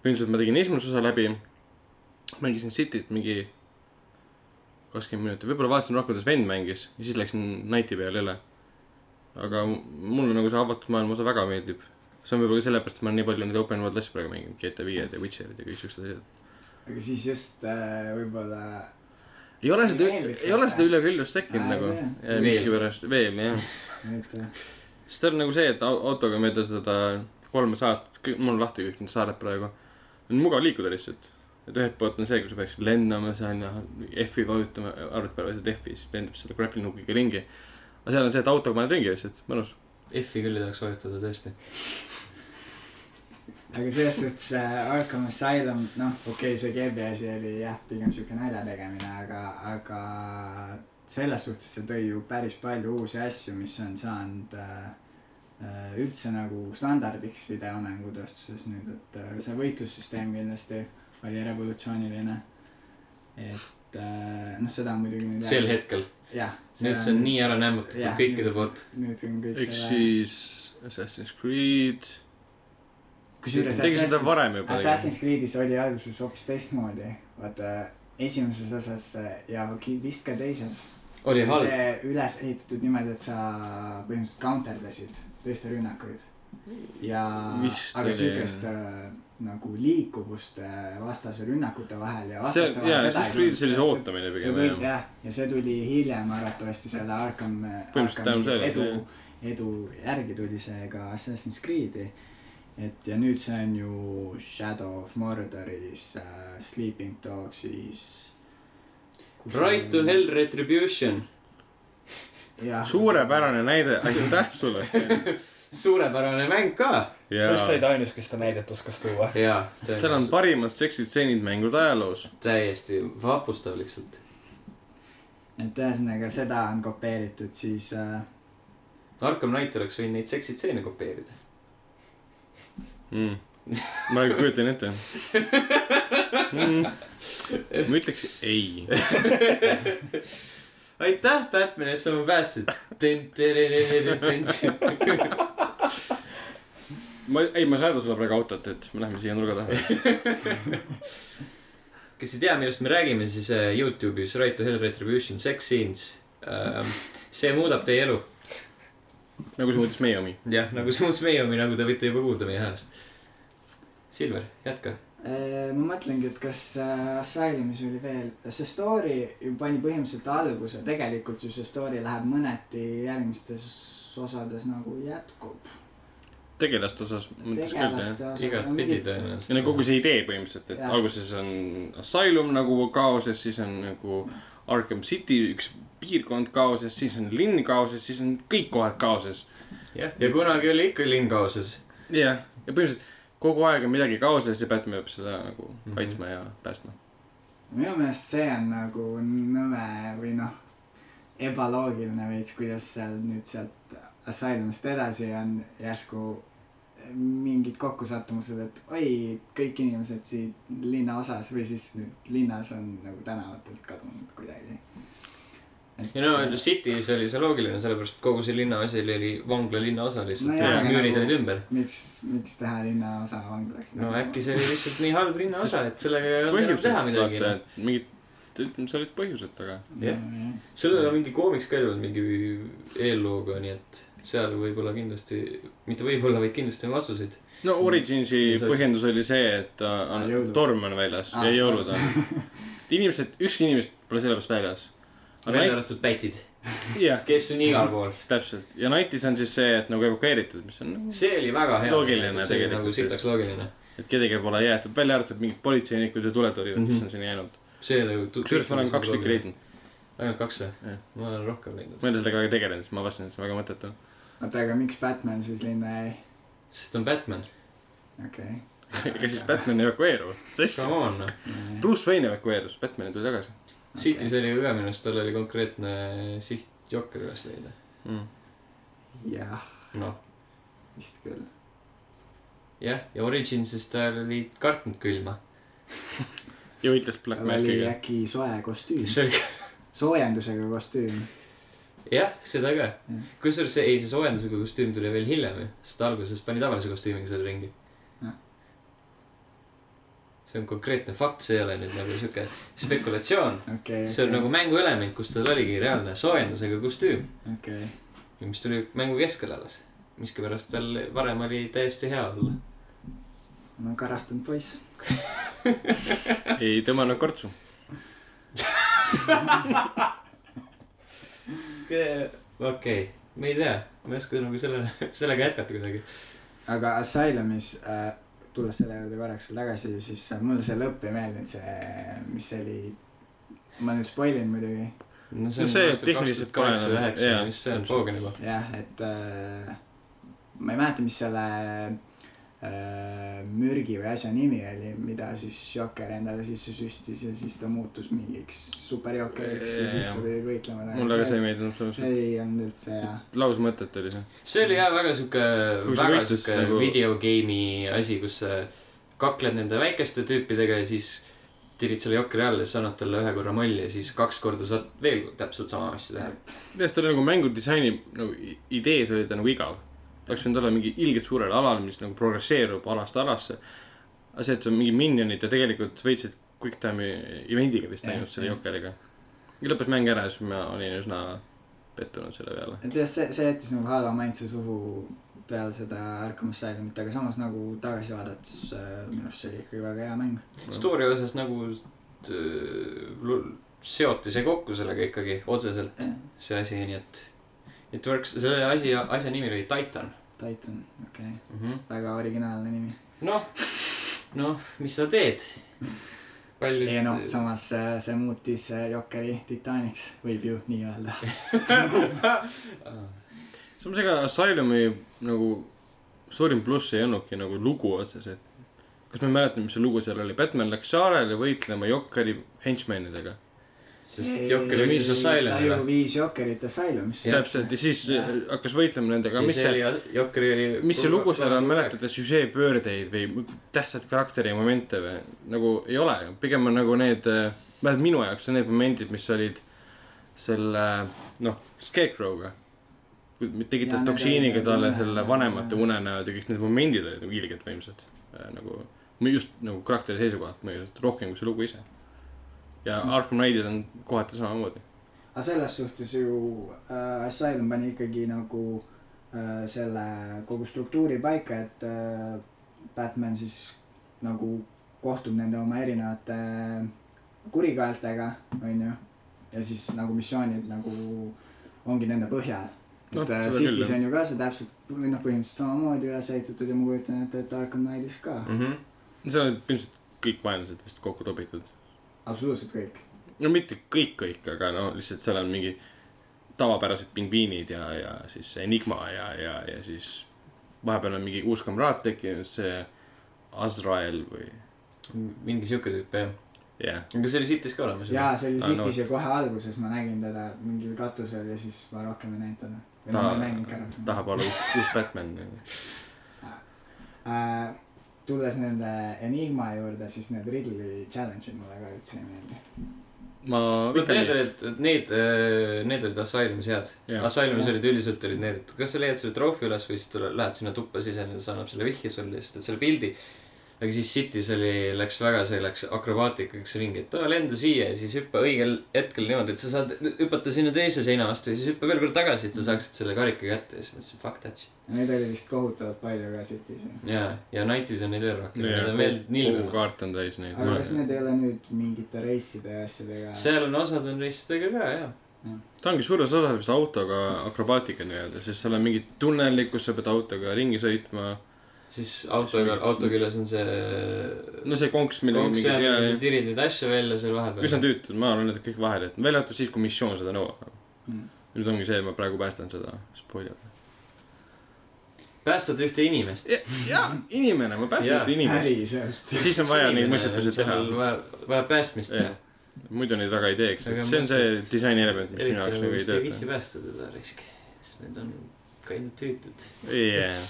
põhimõtteliselt ma tegin esimese osa läbi , mängisin Cityt mingi kakskümmend minutit , võib-olla vaatasin rohkem , kuidas vend mängis ja siis läksin Nighti peale üle . aga m- mulle nagu see avatud maailma osa väga meeldib . see on võib-olla sellepärast , et ma olen nii palju neid open world asju praegu mänginud , GTA viied ja Witcherid ja kõik siuksed asjad .
aga siis just äh, võib-olla
ei ole seda
Ei , meeldiks
ei ole
väga.
seda üleküllust tekkinud
Aa,
nagu
jah.
eh, miskipärast veel jah .
et äh,
sest ta on nagu see , et au- autoga mööda seda kolme saart , mul on lahti kõik need saared praegu . on mugav liikuda lihtsalt . et ühelt poolt on see , kui sa peaksid lendama seal ja F-i vajutama , arvutipäevaselt F-i , siis lendab selle grappling-hookiga ringi . aga seal on see , et autoga paned ringi lihtsalt , mõnus .
F-i küll ei tahaks vajutada tõesti .
aga selles suhtes äh, Arkham Asylum , noh , okei okay, , see Gabe'i asi oli jah , pigem siuke nalja tegemine , aga , aga selles suhtes see tõi ju päris palju uusi asju , mis on saanud äh, äh, üldse nagu standardiks videomängutööstuses nüüd , et äh, see võitlussüsteem kindlasti oli revolutsiooniline . et äh, noh , seda on muidugi nüüd
sel hetkel ,
jah .
nüüd see on nii ära nämmutatud
Jah,
kõikide
nüüd-
poolt .
nüüd on kõik
eks siis Assassin's Creed .
kusjuures
tegi seda
Assassin's-
varem juba .
Assassin's Creed'is oli alguses hoopis teistmoodi , vaata esimeses osas äh, ja ki- vist ka teises .
oli halb .
see üles ehitatud niimoodi , et sa põhimõtteliselt counterdasid teiste rünnakuid . ja ,
Vist
aga
oli,
siukest äh, nagu liikuvust äh, vastase rünnakute vahel ja
see
vastaste ,
jaa ,
vahel
Assassin's
ei
Creed
tulnud.
sellise
See-
ootamine
see
pigem
tuli
jah .
jah , ja see tuli hiljem arvatavasti selle Arkham ,
Põhimõtteliselt
Arkhami
tänu sellele,
edu , edu järgi tuli see ka Assassin's Creed'i . et ja nüüd see on ju Shadow of Mordoris äh, , Sleeping Dogsis .
Right to hell retribution ,
hell .
suurepärane näide , aitäh sulle .
suurepärane mäng ka .
sest olid ainus , kes seda näidet oskas tuua .
jaa ,
seal on parimad seksitseenid mängude ajaloos .
täiesti vapustav lihtsalt .
et ühesõnaga seda on kopeeritud siis äh,
Arkham Knight oleks võinud neid seksitseene kopeerida .
mm. . ma praegu kujutan ette mm. . ma ütleks ei .
aitäh , Batman , et sa mu päästsid .
ma , ei , ma ei saada sulle praegu autot , et me läheme siia nurga taha .
kes ei tea , millest me räägime , siis äh, Youtube'is Right to Hell Retribution sex scenes . see muudab teie elu .
nagu see muutis meie omi .
jah , nagu see muutus meie omi , nagu te võite juba kuulda meie häälest . Silver , jätka .
Äh, ma mõtlengi , et kas äh, Asylumis oli veel , see story ju pani põhimõtteliselt alguse , tegelikult ju see story läheb mõneti järgmistes osades nagu jätkub .
tegelaste osas mõttes küll jah .
tegelaste osas on
igatpidi
mingid ,
ja no
tõenäoliselt .
kogu see idee põhimõtteliselt , et
Jah.
alguses on asylum nagu kaoses , siis on nagu Arkham City üks piirkond kaoses , siis on linn kaoses , siis on kõik kohad kaoses .
jah , ja kunagi oli ikka linn kaoses .
jah , ja põhimõtteliselt kogu aeg on midagi kaoses ja Batman peab seda nagu
Mhm.
kaitsma mm -hmm. ja päästma .
minu meelest see on nagu nõme või noh , ebaloogiline veits , kuidas seal nüüd sealt Asylumist edasi on järsku mingid kokkusattumused , et oi , kõik inimesed siit linnaosas või siis nüüd linnas on nagu tänavatelt kadunud kuidagi .
ja no City's oli see loogiline , sellepärast et kogu see linnaasi oli- oli vangla linnaosa lihtsalt
No jaa,
ja
aga
müürid
nagu-
olid ümber .
miks , miks teha linnaosa vanglaks ?
no äkki see oli lihtsalt nii halb linnaosa , et sellega ei olnud enam
põhjused ,
teha midagi noh.
vaata ,. et mingid , ütleme , seal olid põhjused taga .
jah. . sellel on mingi koomiks ka olnud mingi eellooga , nii et seal võib-olla kindlasti , mitte võib-olla , vaid kindlasti on vastuseid .
no Originsi
Mis asjad?
põhjendus oli see , et äh, on,
Aa, jõulud.
torm on väljas
Aa,
ja jõulud on . inimesed , ükski inimene pole sellepärast väljas .
välja arvatud pätid ,
jah ,
kes on igal pool .
täpselt ja Nightis on siis see , et nagu evakueeritud , mis on ,
see oli väga hea .
Loogiline
see oli
tegelikult.
nagu sitaks loogiline .
et kedagi pole jäetud , välja arvatud mingid politseinikud ja tuletõrjujad mm , -hmm.
Mhm.
kes on siin jäänud .
see oli ju .
kusjuures ma olen kaks tükki . leidnud ,
ainult kaks
Jah.
või ? ma olen rohkem leidnud .
ma ei ole sellega väga tegelenud , siis ma avastasin , et see on väga mõttetu .
oota , aga miks Batman siis linna jäi ?
sest ta on Batman .
okei
ega siis Batman evakueerub .
Come on , noh .
okay. .
Bruce Wayne evakueerus , Batman tuli tagasi
City's oli ju ka minu arust , tal oli konkreetne siht Jokker üles leida .
mm. .
jah ,
noh ,
vist küll .
jah , ja Originsis tal oli kartnud külma .
ja võitles Black
tal oli
Magic'iga .
äkki soe kostüüm ,
see oli ,
soojendusega kostüüm .
jah , seda ka
Jah. .
kusjuures see , ei see soojendusega kostüüm tuli veel hiljem ju , sest alguses pani tavalise kostüümiga seal ringi
Jah. .
see on konkreetne fakt , see ei ole nüüd nagu siuke spekulatsioon .
okei ,
see on nagu mänguelement , kus tal oligi reaalne soojendusega kostüüm ,
okei ,
mis tuli mängu keskelalas . miskipärast tal varem oli täiesti hea olla .
no karastunud poiss .
ei tõmmanud kortsu .
okei okay. , ma ei tea , ma ei oska nagu selle , sellega jätkata kuidagi .
aga Asylumis äh, , tulles selle juurde korraks veel tagasi , siis äh, mulle see lõpp ei meeldinud , see , mis see oli . ma nüüd spoil in muidugi ,
no
No see tehniliselt pole enam- jaa,
üheksa , mis see on ,
täpselt.
poogen juba .
jah , et äh, ma ei mäleta , mis selle äh, mürgi või asja nimi oli , mida siis Jokker endale sisse süstis ja siis ta muutus mingiks superjokkeriks ja siis ta pidi võitlema .
mulle ka see ei meeldinud absoluutselt .
see ei olnud üldse hea .
lausmõtet oli see .
see oli jah väga sihuke ,
Kui see
väga
võitlus
sihuke
nagu-
nagu... videogame'i asi , kus sa kakled nende väikeste tüüpidega ja siis tirid selle jokri alla ja siis annad talle ühe korra molli ja siis kaks korda saad veel täpselt sama asja teha .
tead , ta oli nagu mängudisaini nagu i- idees oli ta nagu igav . ta oleks võinud olla mingi ilgelt suurel alal , mis nagu progresseerub alast alasse . aga see , et see on mingi minionid ja tegelikult võitsid quick time'i event'iga vist
Jah,
ainult selle
jah.
jokkeriga . lõppes mäng ära ja siis ma olin üsna pettunud selle peale .
et jah , see , see jättis nagu halva maitse suhu peale seda Arkham Asylumit , aga samas nagu tagasi vaadates äh, minu arust see oli ikkagi väga hea mäng .
story osas nagu öö, lu- seoti see kokku sellega ikkagi otseselt , see asi , nii et , et works , selle asi , asja nimi oli Titan
Titan , okei okay. ,
mm .
Mhm.
-hmm.
väga originaalne nimi .
noh , noh , mis sa teed ? paljud .
ei noh , samas äh, see muutis äh, Jokeri titaaniks , võib ju nii öelda .
samas ega Asylumi nagu suurim pluss ei olnudki nagu lugu otseselt . kas ma mäletan , mis see lugu seal oli , Batman läks saarele võitlema jokkeri henchmenidega .
sest Jokker
Ei,
võttis
mis-
ta ju
Asylumile .
viis Jokkerit Asylumisse .
täpselt ja siis äh, hakkas võitlema nendega , mis see
Jokkeri .
mis see lugu seal on , mäletate , süžee pöördeid või tähtsaid karakteri momente või ? nagu ei ole ju , pigem on nagu need , vähemalt minu jaoks on need momendid , mis olid selle noh , Scarecrow'ga . kui me
Jaa,
tekitas
need
toksiiniga
olid
talle
unenäod,
selle
jah.
vanemate unenäod ja kõik need momendid olid nagu ilgelt võimsad . nagu , just nagu karakteri seisukohalt mõjusid rohkem kui see lugu ise . ja Arkham Knightid on kohati samamoodi .
aga selles suhtes ju äh, Asylum pani ikkagi nagu äh, selle kogu struktuuri paika , et äh, Batman siis nagu kohtub nende oma erinevate kurikaeltega , onju . ja siis nagu missioonid nagu ongi nende põhjal .
No,
et äh,
seda küll,
City's
jah.
on ju ka see täpselt või noh , põhimõtteliselt samamoodi üles ehitatud ja ma kujutan ette , et Arkham Knightis ka mm. .
seal olid ilmselt kõik vaenlased vist kokku tobitud .
absoluutselt kõik .
no mitte kõik , kõik , aga no lihtsalt seal on mingi tavapärased pingviinid ja , ja siis see Enigma ja , ja , ja siis vahepeal on mingi uus kamraad tekkinud , see Azrael või
mingi siuke tüüp jah .
jah yeah. ,
aga see oli City's ka olemas .
jaa , see oli
Ah, no
City's ja kohe alguses ma nägin teda mingil katusel ja siis ma rohkem ei näinud teda . või no ma ei näinud ka rohkem .
tahab olla uus, uus Batman .
Äh, tulles nende Enigma juurde , siis need Ridley challenge'id mulle ka üldse ei meeldi .
ma .
vot need olid , need , need olid Asylumis head .
Jah.
Asylumis olid üldiselt olid need , et kas sa leiad selle troofi üles või siis tule , lähed sinna tuppa sisene ja see annab selle vihje sulle ja siis teed selle pildi . aga siis City's oli , läks väga , see läks akrobaatikaks ringi , et oo, lenda siia ja siis hüppa õigel hetkel niimoodi , et sa saad hüpata sinna teise seina vastu ja siis hüppa veel kord tagasi , et sa saaksid selle karika kätte ja siis mõtlesin fuck that shit .
Neid oli vist kohutavalt palju ka City's ju .
ja , ja Nightis on neid veel rohkem , need on veel
kogu
nilbemad .
kaart on täis neid .
aga kas need ei ole nüüd mingite reiside ja asjadega ?
seal on osad on reisistega ka , jah .
ta ongi suures osas vist autoga akrobaatika nii-öelda , sest seal on mingid tunnelid , kus sa pead autoga ringi sõitma .
siis autoga , auto küljes on see .
no see konks , millega
konks
mingi .
seal , sa tirid neid asju välja seal vahepeal .
üsna tüütud , ma olen need kõik vahele jätnud , välja arvatud siis , kui missioon seda nõuab
Mm. .
nüüd ongi see , et ma praegu päästan seda , spoiler .
päästad ühte inimest .
jaa , inimene , ma päästen
Jaa.
yeah. inimest .
päriselt .
siis on vaja neid mõistetusi teha .
vaja päästmist
Jah.
teha .
muidu neid väga ei teeks ,
Aga
et see on see disaini element , mis
eriti
minu jaoks
nagu
nagu ei
vist ei
tööta
viitsi . päästa teda risk , sest need on kind of tüütud .
Yeah.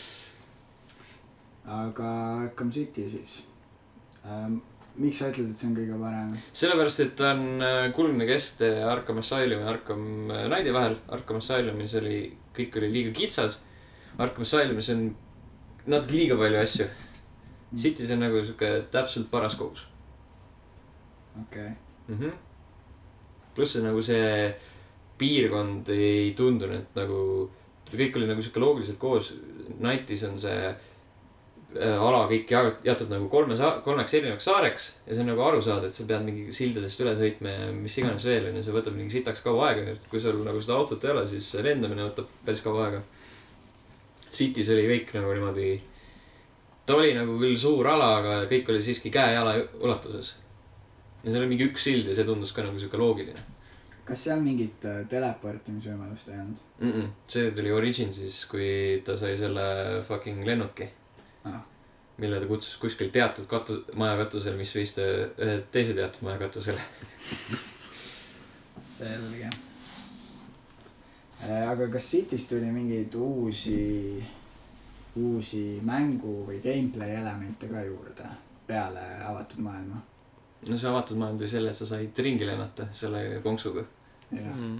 aga Arkham City siis ähm, . miks sa ütled , et see on kõige parem ?
sellepärast , et ta on äh, kuldne kesktee Arkham Asylumi ja Arkham äh, Knighti vahel . Arkham Asylumis oli , kõik oli liiga kitsas . Arkham Asylumis on natuke liiga palju asju . City's on nagu sihuke täpselt paras kogus
okei okay. ,
mm . -hmm. pluss see nagu see piirkond ei tundunud nagu , kõik oli nagu sihuke loogiliselt koos . Knightis on see äh, ala kõik jaotatud, jaotatud nagu kolme , kolmeks erinevaks saareks ja see on nagu aru saada , et sa pead mingi sildadest üle sõitma ja mis iganes veel onju , see võtab mingi sitaks kaua aega , et kui sul nagu seda autot ei ole , siis see lendamine võtab päris kaua aega . City's oli kõik nagu niimoodi , ta oli nagu küll suur ala , aga kõik oli siiski käe-jala ulatuses ja seal oli mingi üks sild ja see tundus ka nagu sihuke loogiline
kas seal mingit äh, teleportimisvõimalust ei olnud ?
mm . -mm. see tuli Originsis , kui ta sai selle fucking lennuki
Ah. ,
mille ta kutsus kuskilt teatud katu- , maja katusele , mis viis ta ühe teise teatud maja katusele .
selge . aga kas City's tuli mingeid uusi , uusi mängu või gameplay elemente ka juurde peale avatud maailma ?
no see avatud maailm tõi selle , et sa said ringi lennata selle konksuga .
Mm.
jah ,
Mm.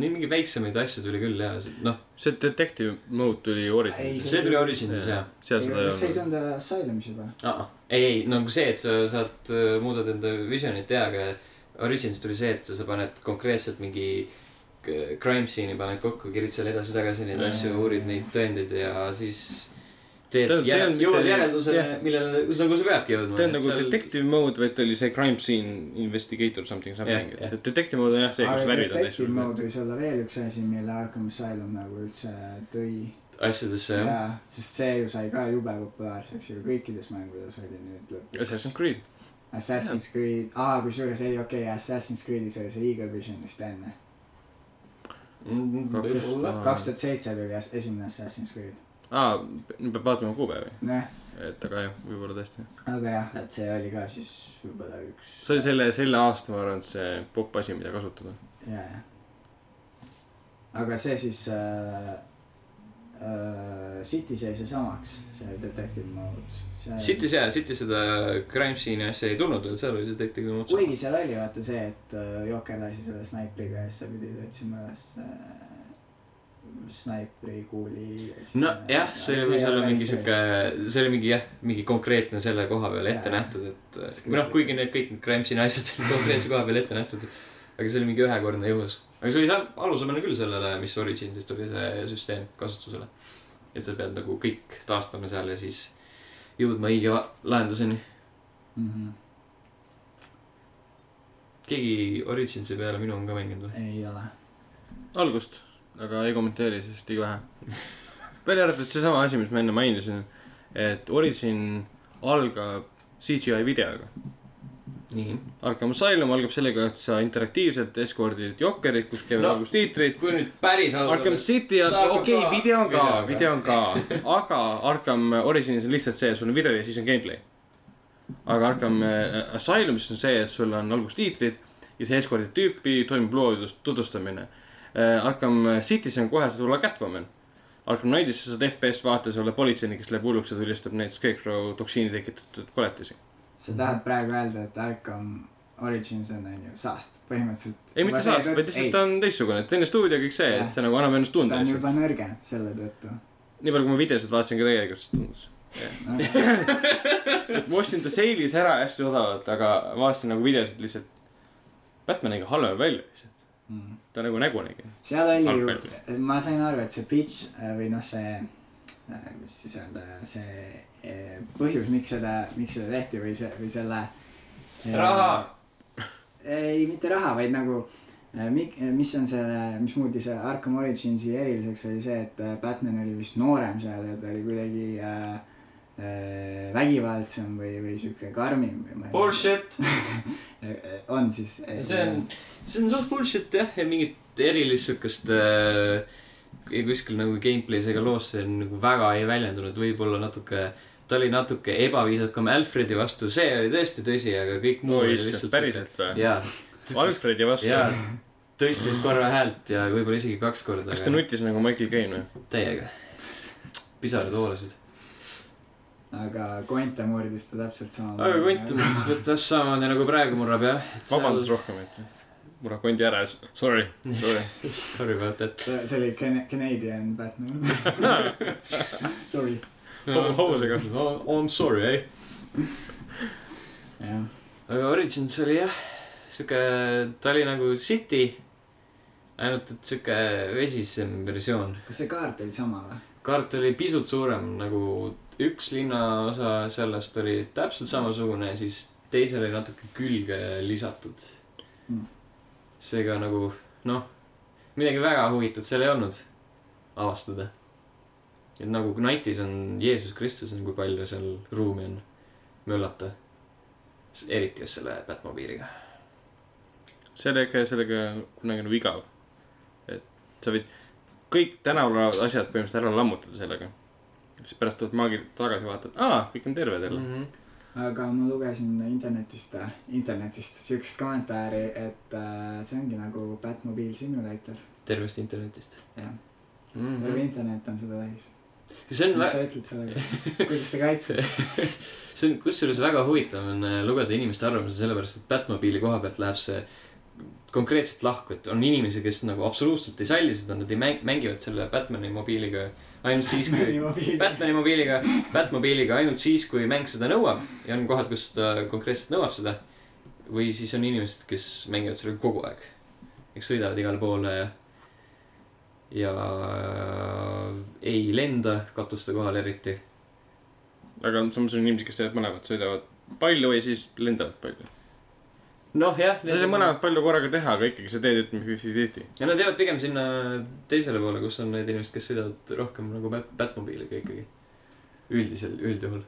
nii mingeid väiksemaid asju tuli küll ja see- noh ,
see detective mode tuli
Ei,
Originsis .
see tuli Originsis jah .
seal seda
kas see
ei
ei
olnud .
tulnud Asylumis juba ?
ei , ei nagu see , et sa saad , muudad enda visionit ja , aga Originsis tuli see , et sa, sa paned konkreetselt mingi k- crime scene'i paned kokku , kirid seal edasi-tagasi neid
Jaa.
asju , uurid neid tõendeid ja siis teed
Tähendab, see
jär,
on mitte-
jõuad järeldusele
jah. ,
millele , nagu sa peadki jõudma .
ta on nagu seal... . detective mode , vaid ta oli see crime scene investigator something
Jah,
something
jah.
yeah, . Yeah. detective mode on jah see , kus värvid on täis
detective . mode võis olla veel üks asi , mille Arkham Asylum nagu üldse tõi .
asjadesse jah .
jaa , sest see ju sai ka jube populaarseks ju kõikides mängudes oli nüüd lõpuks .
Assassin's Creed .
Assassin's Creed , aa , kusjuures ei , okei okay, , Assassin's Creed'is oli see Eagle Vision vist enne .
Kaks-
Mm, võib-olla .
Aa.
kaks tuhat seitse tuli as- esimene Assassin's Creed .
aa , nüüd peab vaatama kuupäevi ,
nojah ,
et aga jah , võib-olla tõesti .
aga jah , et see oli ka siis võib-olla üks .
see oli selle , selle aasta , ma arvan , et see popp asi , mida kasutada .
ja , ja . aga see siis äh, äh, City's jäi see samaks , see detective mode .
City's jaa , City's seda crime scene'i asja ei tulnud veel , seal oli see detective mode
kuigi . seal oli vaata see , et äh, Jokker lasi selle snaipriga ja siis sa pidid otsima üles äh, snaipri kuuli .
nojah , see võis olla mingi sihuke , see oli mingi jah , mingi konkreetne selle koha peal ette
Jaa.
nähtud , et või noh , kuigi need kõik need crime scene'i asjad olid konkreetse koha peal ette nähtud . aga see oli mingi ühekordne juhus , aga see oli seal alusemane küll sellele , mis Originsist oli see süsteem kasutusele . et sa pead nagu kõik taastama seal ja siis jõudma õige va- lahenduseni .
mm . -hmm.
keegi Originsi peale minu on ka mänginud või ?
ei ole .
algust , aga ei kommenteeri , sest liiga vähe . välja arvatud seesama asi , mis ma enne mainisin , et Origin algab CGI videoga .
nii .
Arkham Asylum algab sellega , et sa interaktiivselt eskordid jokkerit , kus käivad
No.
no. algustiitrid .
kui nüüd päris
Arkham
ausalt .
City ,
Ta hakkab
okei
ka-
okay, , video on ka
videoga. ,
video on ka , aga Arkham Originis on lihtsalt see , sul on video ja siis on gameplay . aga Arkham äh, Asylumis on see , et sul on alguses tiitrid ja sa eskordid tüüpi , toimub loo tutvus- tutvustamine . Arkham City's on kohe , sa tuled Catwoman . Arkham Knightis sa saad FPS vaates olla politseinik , kes läheb hulluks ja tulistab neid Scarecrow toksiini tekitatud koletisi .
sa tahad praegu öelda , et Arkham Origins on onju saast , põhimõtteliselt .
ei , mitte saast , vaid lihtsalt ta on teistsugune , teine stuudio , kõik see ,
Jah.
et see nagu annab ennast tunda
ta on juba
lihtsalt .
nõrgem selle tõttu .
nii palju , kui ma videosid vaatasin , ka tegelikult see tundus . et ma ostsin ta seilis ära hästi odavalt , aga vaatasin nagu videosid lihtsalt . Batman nägi halvem välja lihtsalt , ta nagu nägu nägi .
Mm. seal oli ju
Halb ,
ma sain aru , et see pitch äh, või noh , see , kuidas siis öelda , see eh, põhjus , miks seda , miks seda tehti või see , või selle .
Raha. .
ei , mitte raha , vaid nagu , mis on selle , mis muutis selle Arkham Originsi eriliseks , oli see , et äh, Batman oli vist noorem seal ja ta oli kuidagi äh, äh, vägivaldsem või , või sihuke karmim .
Bullshit .
on siis .
see on , see on suht bullshit jah , ja mingit erilist siukest äh, kuskil nagu gameplay's ega loos see nagu väga ei väljendunud , võib-olla natuke , ta oli natuke ebaviisakam Alfredi vastu , see oli tõesti tõsi , aga kõik muu
oi
oli
issand ,
lihtsalt .
päriselt või ?
jaa ,
Alfredi vastu
jaa , tõstis korra häält ja võib-olla isegi kaks korda .
kas ta nuttis nagu Michael Caine või ?
täiega . pisarad voolasid .
aga Quentin murdis ta täpselt samamoodi .
aga kont on täpselt samamoodi nagu praegu murrab jah .
vabandust . rohkem , et mul on kondi ära , sorry , sorry .
Sorry about that .
see see oli Can- , Canadian Batman . Sorry ,
Ho- hobusega. .
I m sorry , eh? ei .
jah .
aga Origins oli jah , sihuke , ta oli nagu City , ainult et sihuke vesisem versioon .
kas see kaart oli sama või ?
kaart oli pisut suurem , nagu üks linnaosa sellest oli täpselt samasugune , siis teisele oli natuke külge lisatud
Mm. .
seega nagu noh , midagi väga huvitavat seal ei olnud avastada . et nagu Knightis on Jeesus Kristus on , kui palju seal ruumi on möllata . eriti just selle Batmobiiliga .
sellega , sellega kunagi nagu igav . et sa võid kõik tänaval olevad asjad põhimõtteliselt ära lammutada sellega . siis pärast tuled maagi tagasi , vaatad , aa , kõik on terved jälle .
Mhm.
-hmm.
aga ma lugesin internetist , internetist siukest kommentaari , et äh, see ongi nagu Batmobile Simulator ,
tervest internetist
jah .
mm .
terve internet on seda täis .
see on
mis
vä-
sa ütled sellega , kuidas sa kaitsed ?
see on kusjuures väga huvitav on äh, lugeda inimeste arvamusi , sellepärast et Batmobiili koha pealt läheb see konkreetselt lahku , et on inimesi , kes nagu absoluutselt ei salli seda , nad ei mäng- , mängivad selle Batman'i mobiiliga ainult siis , kui , Batman'i mobiiliga , Batmobiiliga ainult siis , kui mäng seda nõuab ja on kohad , kus ta konkreetselt nõuab seda . või siis on inimesed , kes mängivad sellega kogu aeg , eks sõidavad igale poole ja ja ei lenda katuste kohal eriti .
aga samas on inimesi , kes teevad mõlemat , sõidavad palju ja siis lendavad palju .
noh , jah .
sa saad mõlemat palju korraga teha , aga ikkagi sa teed , ütleme , fifty-fifty .
ja nad jäävad pigem sinna teisele poole , kus on need inimesed , kes sõidavad rohkem nagu Bat- , Batmobiiliga ikkagi . üldisel , üldjuhul .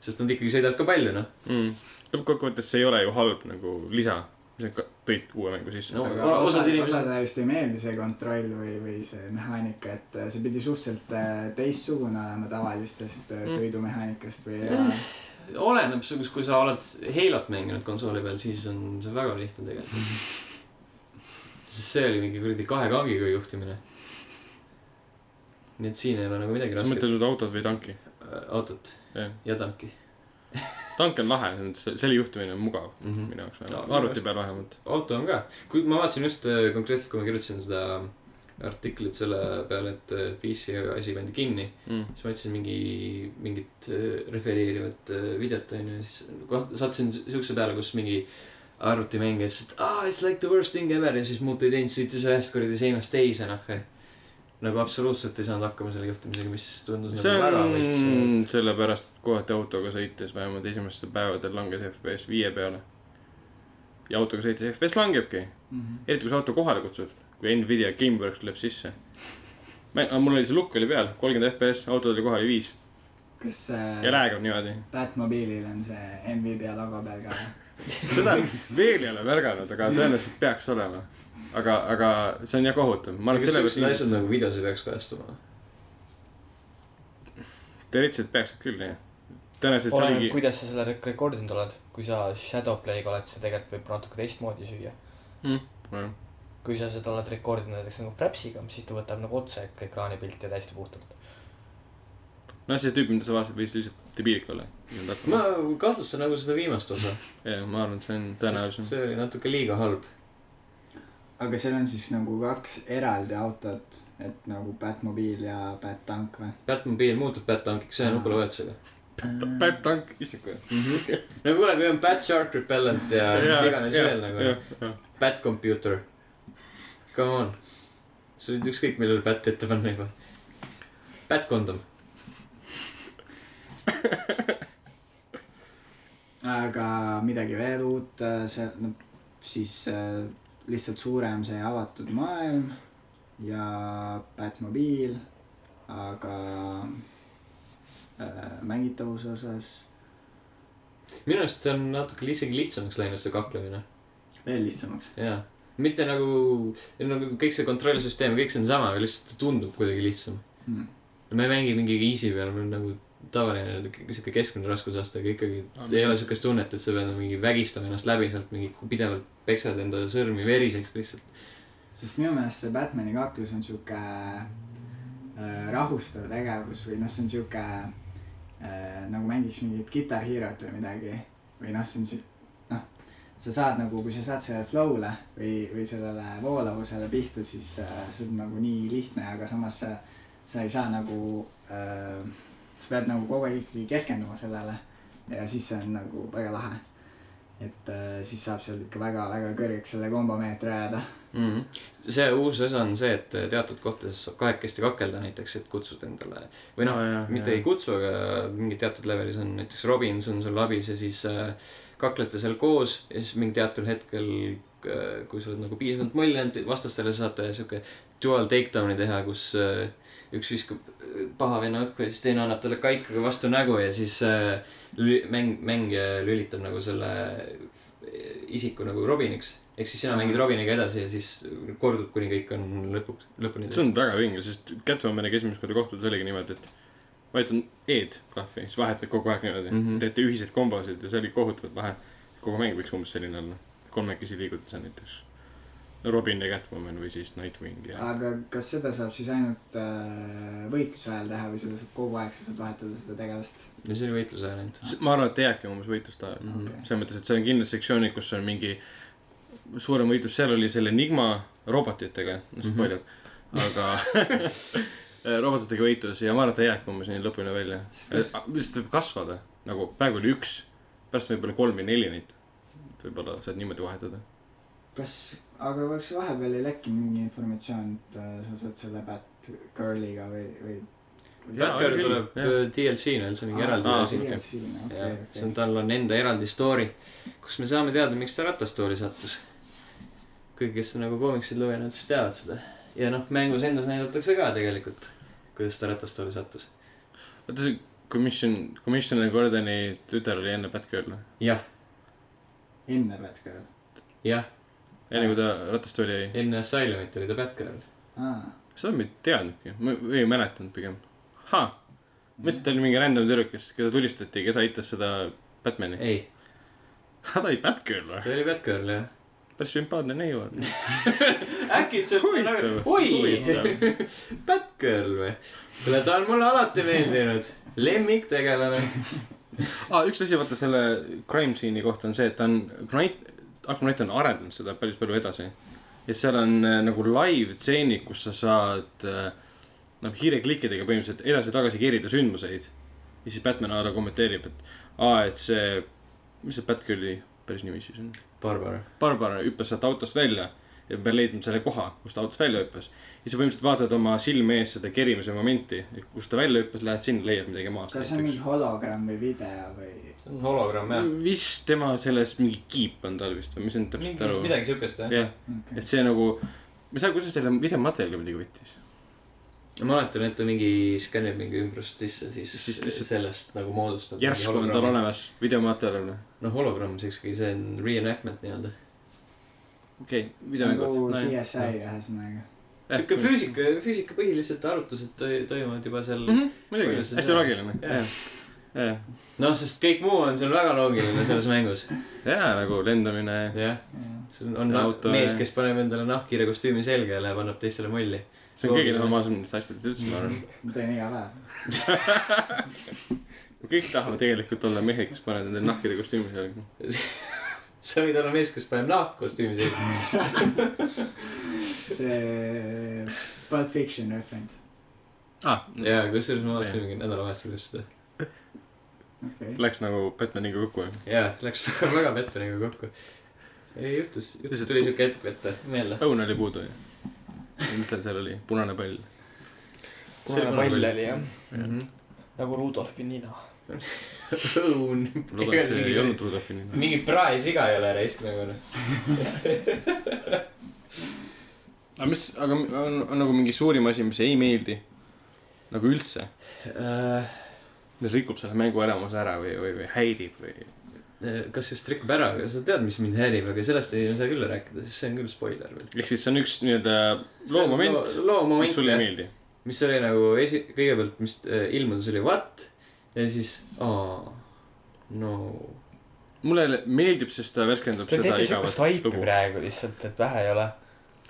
sest nad ikkagi sõidavad ka palju , noh .
lõppkokkuvõttes see ei ole ju halb nagu lisa , mis nad ka- tõid uue mängu sisse
No.
no. .
aga
o- osad
osad
inimesed-
osadele vist ei meeldi see kontroll või , või see mehaanika , et äh, see pidi suhteliselt äh, teistsugune olema tavalistest
Mhm.
äh,
Mm.
sõidumehaanikast või ja,
oleneb , kui sa oled Halot mänginud konsooli peal , siis on see väga lihtne tegelikult . sest see oli mingi kuradi kahe kangiga juhtimine . nii et siin ei ole nagu midagi
sa
rasket .
mõtled nüüd autot või tanki ?
autot
jah ,
ja tanki
tank on lahe , selle juhtimine on mugav
mm . -hmm.
minu jaoks
No,
vähemalt , arvuti peal vähemalt .
auto on ka , kui ma vaatasin just äh, konkreetselt , kui ma kirjutasin seda artiklit selle peale , et äh, PC asi pandi kinni ,
Mm.
siis ma otsin mingi , mingit äh, refereerivat äh, videot onju , siis koht- , sattusin si- siukse peale , kus mingi arvuti mängis , et aa , it's like the worst thing ever ja siis muud ei teinud , sõitis ühest kuradi seinast teise noh . nagu absoluutselt ei saanud hakkama selle juhtimisega , mis tundus
see
nagu väga võlts .
on sellepärast , et kohati autoga sõites vähemalt esimestel päevadel langes FPS viie peale . ja autoga sõites FPS langebki ,
Mhm.
eriti kui sa auto kohale kutsud , kui Nvidia Gameworks tuleb sisse . mul oli see lukk oli peal , kolmkümmend FPS , auto tuli kohale viis
kas
ja
äh,
läägab niimoodi .
Batmobiilil on see Nvidia logo peal ka või ?
seda veel ei ole märganud , aga tõenäoliselt peaks olema . aga , aga see on jah kohutav , ma olen
kas
selle
siuksed
peale ,
asjad nagu videos ei peaks kajastuma ?
teoreetiliselt peaksid küll jah . tõenäoliselt see
oleneb ,
oligi ,
kuidas sa selle rek- rekordinud oled , kui sa Shadowplay'ga oled , see tegelikult võib natuke teistmoodi süüa . kui sa seda oled rekordinud näiteks nagu Prepsiga , siis ta võtab nagu otse ekraanipilti täiesti puhtalt .
no see tüüp , mida sa vaatasid , võis lihtsalt debiilik olla .
ma kahtlustan nagu seda viimast osa .
jah , ma arvan , et see on
sest
tõenäolisem .
see oli natuke liiga halb .
aga seal on siis nagu kaks eraldi autot , et nagu Batmobiil ja Battank või ?
Batmobiil muutub Battankiks ühe nupuloetusega .
Bad Tank , issand kui .
no kuule , kui on Bat Shark Repellent ja mis iganes veel nagu ,. Bat Computer . Come on . sa võid ükskõik millele Bat ette panna juba . Bat kondom .
aga midagi veel uut , see , no siis äh, lihtsalt suurem see avatud maailm ja Batmobiil , aga äh, mängitavuse osas
minu arust on natuke isegi lihtsamaks läinud see kaklemine .
veel lihtsamaks .
jaa . mitte nagu , nagu kõik see kontrollsüsteem , kõik see on sama , aga lihtsalt tundub kuidagi lihtsam .
mm. .
me ei mängi mingi easy peal , meil on nagu tavaline sihuke keskmine raskusaste , aga ikkagi
Aa,
ei ole siukest tunnet , et sa pead mingi vägistama ennast läbi sealt mingi pidevalt peksad enda sõrmi veriseks lihtsalt .
sest minu meelest see Batman'i kaklus on sihuke äh, rahustav tegevus või noh , see on sihuke äh, nagu mängiks mingit Guitar Hero't või midagi või noh , see on si- , noh , sa saad nagu , kui sa saad sellele flow'le või , või sellele voolavusele pihta , siis äh, see on nagu nii lihtne , aga samas sa , sa ei saa nagu äh, , sa pead nagu kogu aeg ikkagi keskenduma sellele ja siis see on nagu väga lahe . et äh, siis saab seal ikka väga-väga kõrgeks selle kombomeetri ajada .
Mm -hmm. see uus osa on see , et teatud kohtades saab kahekesti kakelda näiteks , et kutsud endale või noh , mitte ei kutsu , aga mingi teatud levelis on näiteks Robinson sul abis ja siis äh, kaklete seal koos ja siis mingi teatud hetkel , kui sa oled nagu piisavalt mõllinud , vastastele saate sihuke dual takedown'i teha , kus äh, üks viskab äh, paha venna õhku ja siis teine annab talle kaikaga vastu nägu ja siis äh, lüli- mäng , mängija lülitab nagu selle isiku nagu Robiniks . ehk siis sina mängid Robiniga edasi ja siis kordub , kuni kõik on lõpuks , lõpuni
see on väga vinge , sest Catwomaniga esimest korda kohtudes oligi niimoodi , et vajutan E-d klahvi , siis vahetad kogu aeg niimoodi mm ,
Mhm.
-hmm. teete ühiseid kombosid ja see oli kohutavalt lahe . kogu mäng võiks umbes selline olla , kolmekesi liigutada seal näiteks . Robin ja Catwoman või siis Nightwing ja .
aga kas seda saab siis ainult äh, võitluse ajal teha või seda saab kogu aeg , sa saad vahetada seda tegelast ?
ja see oli võitluse ajal ainult .
ma arvan , et ta jääbki umbes võitluste ajal mm
Mhm.
-hmm. . selles mõttes , et seal on kindlasti sektsioonid , kus on mingi suurem võitlus , seal oli selle Enigma robotitega , noh
Mhm.
spoiler mm , -hmm. aga robotitega võitlus ja ma arvan , et ta jääbki umbes nii lõpuni välja .
Sest-
lihtsalt võib kasvada , nagu praegu oli üks , pärast võib-olla kolm või neli neid . võib-olla saad niimoodi vahetada .
kas , aga kas vahepeal ei lekkinud mingi informatsioon , et äh, sa saad selle Batgirliga või , või ?
Jaa,
Batgirl
oli küll,
tuleb äh,
jah.
DLC-na , see on mingi eraldi
aa,
asi . jah , see on ,
okei ,
tal on enda eraldi story , kus me saame teada , miks ta ratastooli sattus . kõik , kes on nagu koomiksid lugenud , siis teavad seda . ja noh , mängus endas näidatakse ka tegelikult , kuidas ta ratastooli sattus .
oota see commission , commissioner Gordoni tütar oli enne Batgirl .
jah ,
okei . enne Batgirl .
jah ,
enne kui ta ratast oli , ei .
enne Asylumit oli ta Batgirl .
aa ,
seda ma ei teadnudki , ma ei mäletanud pigem . ahah , mõtlesin , et ta oli mingi random tüdruk , kes , keda tulistati , kes aitas seda Batman'i .
ei ,
ta oli Batgirl või ?
see oli Batgirl jah .
päris sümpaatne neiu on .
äkitselt on nagu , oi , Batgirl või ? kuule , ta on mulle alati meeldinud , lemmiktegelane .
ah, . üks asi vaata selle crime scene'i kohta on see , et ta on , Knight , Arkham Knight on arendanud seda päris palju edasi . ja seal on äh, nagu live stseenid , kus sa saad äh, noh , hiireklikkidega põhimõtteliselt edasi-tagasi kerida sündmuseid . ja siis Batman ala kommenteerib , et aa , et see , mis see Batgirli päris nimi siis on ?
Barbara .
Barbara hüppas sealt autost välja ja me leidnud selle koha , kus ta autost välja hüppas . ja sa põhimõtteliselt vaatad oma silme ees seda kerimise momenti , kust ta välja hüppas , lähed sinna , leiad midagi maast .
kas see on mingi hologramm või video või ?
see on hologramm jah .
vist tema selles mingi kiip on tal vist või mis see nüüd täpselt
mingi ,
aru .
midagi siukest jah .
jah , et see nagu , ma ei saa , kuidas selle videomaterjali midagi võttis .
ja ma mäletan , et ta mingi skannib mingi ümbrust sisse , siis,
Siis
siis
lihtsalt-
sellest nagu moodustab .
järsku on tal . olemas videomaterjal või ?
noh , hologramm , see ükski , see on reenactment nii-öelda .
okei okay, ,
nagu
videomängud .
CSI ühesõnaga .
sihuke füüsika , füüsikapõhilised arutlused toi- toimuvad juba seal .
Mhm, muidugi ,
kuidas see
hästi
seal-
loogiline ,
jah.
jah . jah ,
noh , sest kõik muu on seal väga loogiline selles mängus .
jaa , nagu lendamine .
jah , sul on
See
na-
auto-
mees , kes paneb endale nahkhiire kostüümi selga ja läheb , annab teistele mulli .
see on kõige
Loogiline.
normaalsem nendest asjadest üldse , ma arvan .
ma teen iga päev .
kõik tahavad tegelikult olla mehed , kes panevad endale nahkide kostüümi selga .
sa võid olla mees , kes paneb nahkkostüümi selga .
see Pulp Fiction reference ,
Ah.
aa ,
ja kusjuures ma vaatasin mingi nädalavahetusel just seda .
okei .
läks nagu Batmaniga kokku , jah ?
jaa , läks väga, väga Batmaniga kokku . ei juhtus , juhtus ,
Lihtsalt-
tuli siuke hetk ette , meelde .
õun oli puudu , jah ? mis tal seal oli , punane pall .
punane pall oli jah ,
Mhm.
nagu Rudolfi nina .
õun .
loodan , et see ei olnud Rudolfi nimi .
mingi praesiga ei ole raisk nagu noh .
aga mis , aga on, on, on nagu mingi suurim asi , mis ei meeldi nagu
Äh,
üldse , mis rikub selle mängu elamuse ära või , või , või häirib või
äh, kas just rikub ära , aga sa tead , mis mind häirib , aga sellest ei saa küll rääkida , sest see on küll spoiler veel .
ehk siis see on üks nii-öelda loo moment ,
loo
mis
moment
sulle ei
jah ,
meeldi .
mis oli nagu esi- , kõigepealt , mis äh, ilmus , oli what ja siis aa , no .
mulle meeldib , sest ta värskendab
Te
seda
teete siukest
igavat
haipi
lugu .
praegu lihtsalt , et vähe ei ole .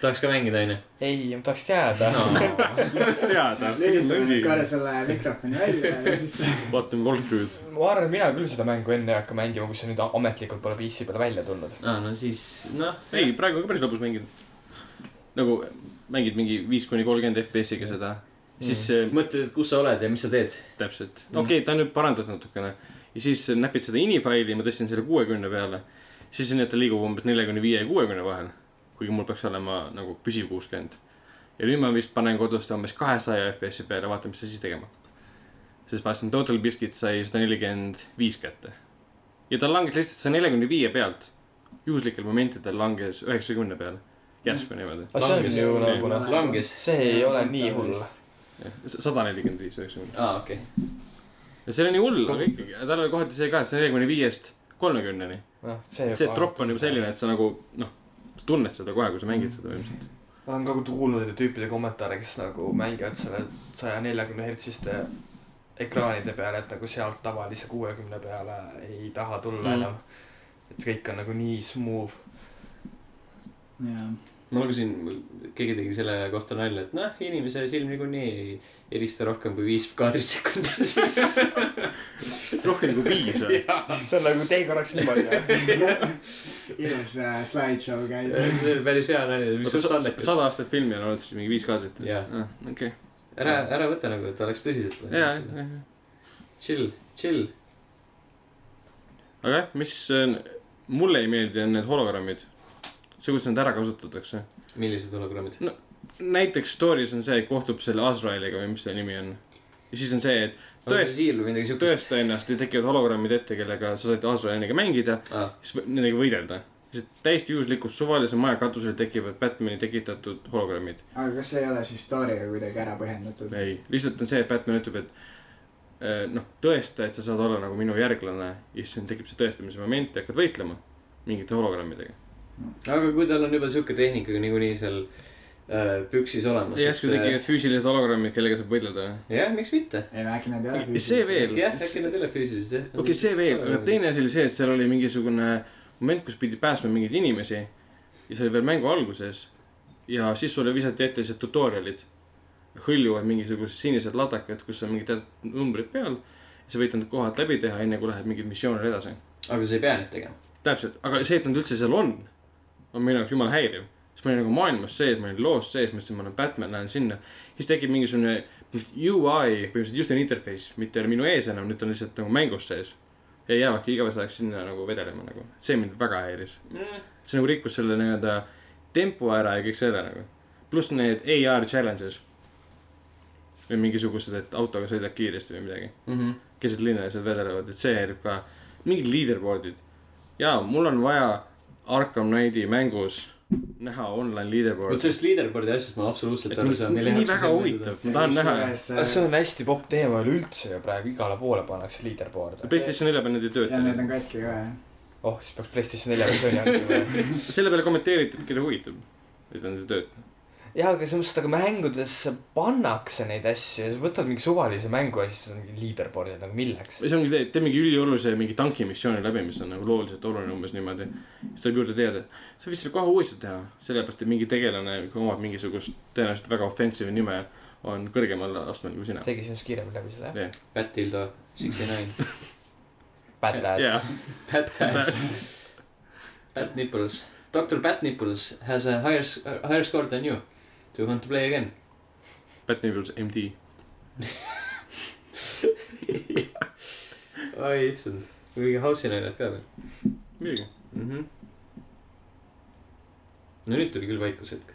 tahaks ka mängida , onju .
ei , ma tahaks teada no. .
teada .
lülitame nüüd korra selle mikrofoni välja ja siis
vaatame kolmkümmend .
ma arvan , mina küll seda mängu enne ei hakka mängima , kui see nüüd ametlikult pole PC peale välja tulnud .
aa , no siis , noh .
ei , praegu on ka päris lõbus mängida . nagu mängid mingi viis kuni kolmkümmend FPS-iga seda , siis mm.
mõtled , et kus sa oled ja mis sa teed .
täpselt , okei okay, , ta on nüüd parandatud natukene ja siis näpid seda inifaili , ma tõstsin selle kuuekümne peale , siis on nii , et ta liigub umbes neljakümne viie ja kuuekümne vahel , kuigi mul peaks olema nagu püsiv kuuskümmend . ja nüüd ma vist panen kodus ta umbes kahesaja FPS-i peale , vaatan , mis ta siis tegema hakkab . sest vaatasin , Total Biscuit sai sada nelikümmend viis kätte ja ta langes lihtsalt saja neljakümne viie pealt , juhuslikel momentidel langes üheksakümne peale , järsku niimoodi ,
aga see on
Langes.
ju nagu noh ,
langes.
see ei ole nii hull .
sada
nagu-
nelikümmend viis , üheksakümmend .
aa , okei okay. .
ja see oli nii hull , aga ikkagi , tal oli kohati see ka , et see neljakümne viiest kolmekümneni .
noh , see .
see tropp on juba . selline , et sa nagu noh , sa tunned seda kohe , kui sa mängid seda ilmselt .
ma olen ka kuulnud nende tüüpide kommentaare , kes nagu mängivad selle saja neljakümne hertsiste ekraanide peale , et nagu sealt tavalise kuuekümne peale ei taha tulla mm.
Mm.
enam . et kõik on nagu nii smooth .
jah ,
ma lugesin , keegi tegi selle kohta nalja , et noh , inimese silm niikuinii ei erista rohkem kui viis kaadrit sekundis .
rohkem kui piis või ?
see on nagu tee korraks niimoodi .
ilus äh, slideshow käib .
see oli päris hea nali , mis suht andekas .
sada aastat filmi on olnud siis mingi viis kaadrit või
Jaa. ?
okei ,
ära , ära võta nagu , et oleks tõsiselt
ja ,
võetud .
ja ,
chill , chill .
aga jah , mis äh, mulle ei meeldi , on need hologrammid . see , kuidas nad ära kasutatakse .
millised hologrammid ?
näiteks story's on see , et kohtub selle Azraeliga või mis ta nimi on . ja siis on see , et
tõesti .
Tõest-
siil või midagi siukest .
tõesta ennast ja tekivad hologrammid ette , kellega sa said Azraeliga mängida .
aa ,
siis võ- nendega võidelda . lihtsalt täiesti juhuslikult suvalise maja katusel tekivad Batman'i tekitatud hologrammid .
aga kas see ei ole siis story'ga kuidagi ära põhjendatud ?
ei , lihtsalt on see , et Batman ütleb , et äh, noh , tõesta , et sa saad olla nagu minu järglane ja siis sul tekib see tõestamise moment ja hakkad võitlema mingite hologrammidega .
aga kui tal on juba siuke tehnika niikuinii seal äh, püksis olemas .
järsku tekivad füüsilised hologrammid , kellega saab võidelda .
jah , miks mitte .
ei no äkki nad ei ole
Ja see veel.
jah , äkki nad ei ole füüsilised jah .
okei okay, , see veel , aga teine asi oli see , et seal oli mingisugune moment , kus pidi päästma mingeid inimesi ja see oli veel mängu alguses . ja siis sulle visati ette lihtsalt tutorial'id , hõljuvad mingisugused sinised ladakad , kus on mingid teatud numbrid peal . sa võid need kohad läbi teha , enne kui lähed mingil missioonil edasi .
aga sa ei pea neid tegema .
täpselt , aga see , et nad üldse seal on , on minu jaoks jumala häiriv . siis ma olin nagu maailmas sees , ma olin loos sees , mõtlesin , ma olen Batman , lähen sinna . siis tekib mingisugune UI , põhimõtteliselt just an interface , mitte ei ole minu ees enam , nüüd ta on lihtsalt nagu mängus sees . ja jäävadki igaveseks ajaks sinna nagu vedelema nagu , see mind väga häiris . see nagu rikkus selle nii-öelda tempo ära ja kõik selle nagu . pluss need AR challenges . või mingisugused , et autoga sõidad kiiresti või midagi
Mhm.
keset linna ja seal vedelevad , et see häirib ka . mingid leaderboard'id . jaa , mul on vaja Arkham Knighti mängus näha online
vot
leaderboard'i .
sellest leaderboard'i asjast ma absoluutselt aru saan .
nii väga huvitav , ma tahan näha .
Ah, see on hästi popp teema üleüldse ju praegu , igale poole pannakse leaderboard'e .
PlayStation nelja peal need ei
ja äh, need
tööta .
on katki ka jah .
oh , siis peaks PlayStation nelja versiooni andma .
selle peale kommenteeriti , et keda huvitab , et nad ei tööta .
jaa , aga selles mõttes , et aga mängudesse pannakse neid asju ja sa võtad mingi suvalise mängu ja siis on mingi leaderboard'id nagu milleks .
see ongi see , et tee mingi üliolulise mingi tankimissiooni läbi , mis on nagu looliselt oluline umbes niimoodi . siis tuleb juurde teada , sa võid selle kohe uuesti teha , sellepärast et mingi tegelane , kui omab mingisugust tõenäoliselt väga offensive nime , on kõrgemal astmel kui sina .
tegi sinust kiiremini läbi selle jah ?
Bat Dildo , Sixty Nine ,
Badass
jaa
yeah. .,
Bat Ass , Bat Nipples . Doctor Bat Nipples has a higher , higher score than you . Do you want to play again ?
Batman Rules MD
oi issand , kuigi house'i naljad ka veel
muidugi ,
mm . -hmm. no nüüd tuli küll vaikushetk .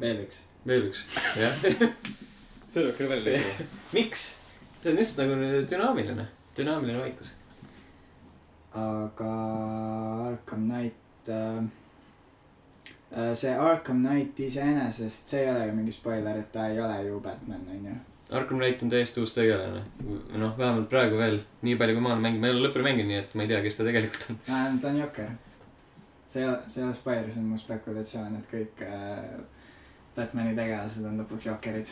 veel üks .
veel üks , jah .
see tuleb küll välja leidma .
miks ? see on lihtsalt nagu dünaamiline , dünaamiline vaikus .
aga Arkham Knight äh, . äh, see Arkham Knight iseenesest , see ei ole ju mingi spoiler , et ta ei ole ju Batman onju .
Arkham Knight on täiesti uus tegelane . noh , vähemalt praegu veel , nii palju kui ma olen mänginud , ma ei ole lõpuni mänginud , nii et ma ei tea , kes ta tegelikult on .
ta on jokker . see , see on Spires on mu spekulatsioon , et kõik äh, Batman'i tegelased on lõpuks jokkerid .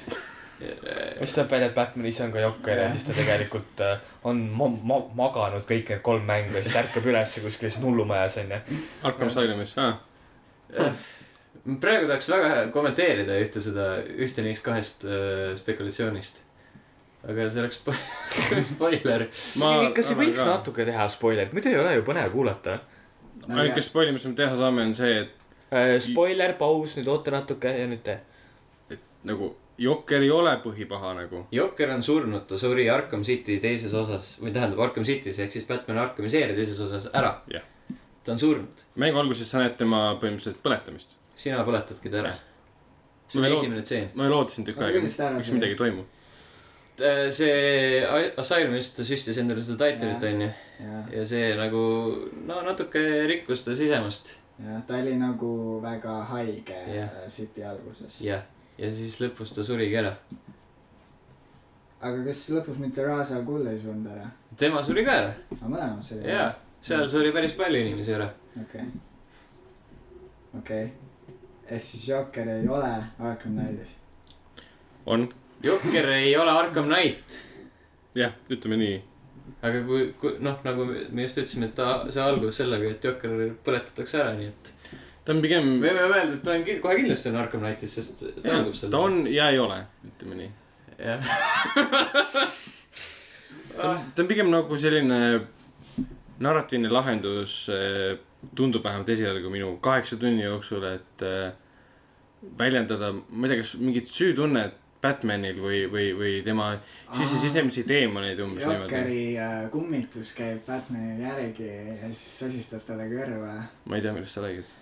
Äh,
siis tuleb välja , et Batman ise on ka jokker ja siis ta tegelikult äh, on ma- , ma- , maganud kõik need kolm mängu ja siis ta ärkab ülesse kuskil lihtsalt hullumajas onju .
Arkham Asylumis , aa .
praegu tahaks väga kommenteerida ühte seda , ühte neist kahest äh, spekulatsioonist . aga see oleks spo- spoiler .
kas ei võiks ? natuke teha spoilerit , muidu ei ole ju põnev kuulata .
ainuke spoil , mis me teha saame , on see , et
Äh, spoiler , paus , nüüd oota natuke ja nüüd tee .
nagu Jokker ei ole põhipaha nagu .
Jokker on surnud , ta suri Arkham City teises osas või tähendab Arkham City's ehk siis Batman Arkhami seeria teises osas ära
Jah.
ta on surnud ,
mängu alguses sa näed tema põhimõtteliselt põletamist .
sina põletadki ta ära . see
Ma
on
ei
esimene tseen .
ma loodasin tükk
Oota,
aega ,
kuidas ta ära
miks
tuli?
midagi ei toimu .
Äh, see A- Asylumist ta süstis endale seda title'it onju
jah ,
ja see nagu no natuke rikkus ta sisemust
jah , ta oli nagu väga haige
Jah.
äh, City alguses .
ja , ja siis lõpus ta surigi ära .
aga kas lõpus mitte Raza Gull ei surnud ära ?
tema suri ka ära
aga mõlemas oli .
ja
Mm.
seal suri päris palju inimesi ära .
okei , okei . ehk siis jokker ei ole Arkham Knightis .
on ,
Jokker ei ole Arkham Knight ,
jah , ütleme nii .
aga kui , kui noh , nagu me just ütlesime , et ta , see algus sellega , et Jokker põletatakse ära , nii et
ta on pigem ,
me võime öelda , et ta on ki- kohe kindlasti on Arkham Knightis , sest ta algab seal .
ta on ja ei ole , ütleme nii .
jah ,
ta on pigem nagu selline narratiivne lahendus , tundub vähemalt esialgu minu kaheksa tunni jooksul , et äh, väljendada , ma ei tea , kas mingit süütunnet Batmanil või , või , või tema sise ,
Aa.
sisemisi teemaneid umbes niimoodi .
jokkeri äh, kummitus käib Batmanil järgi ja siis sosistab talle kõrva .
ma ei tea , millest sa räägid .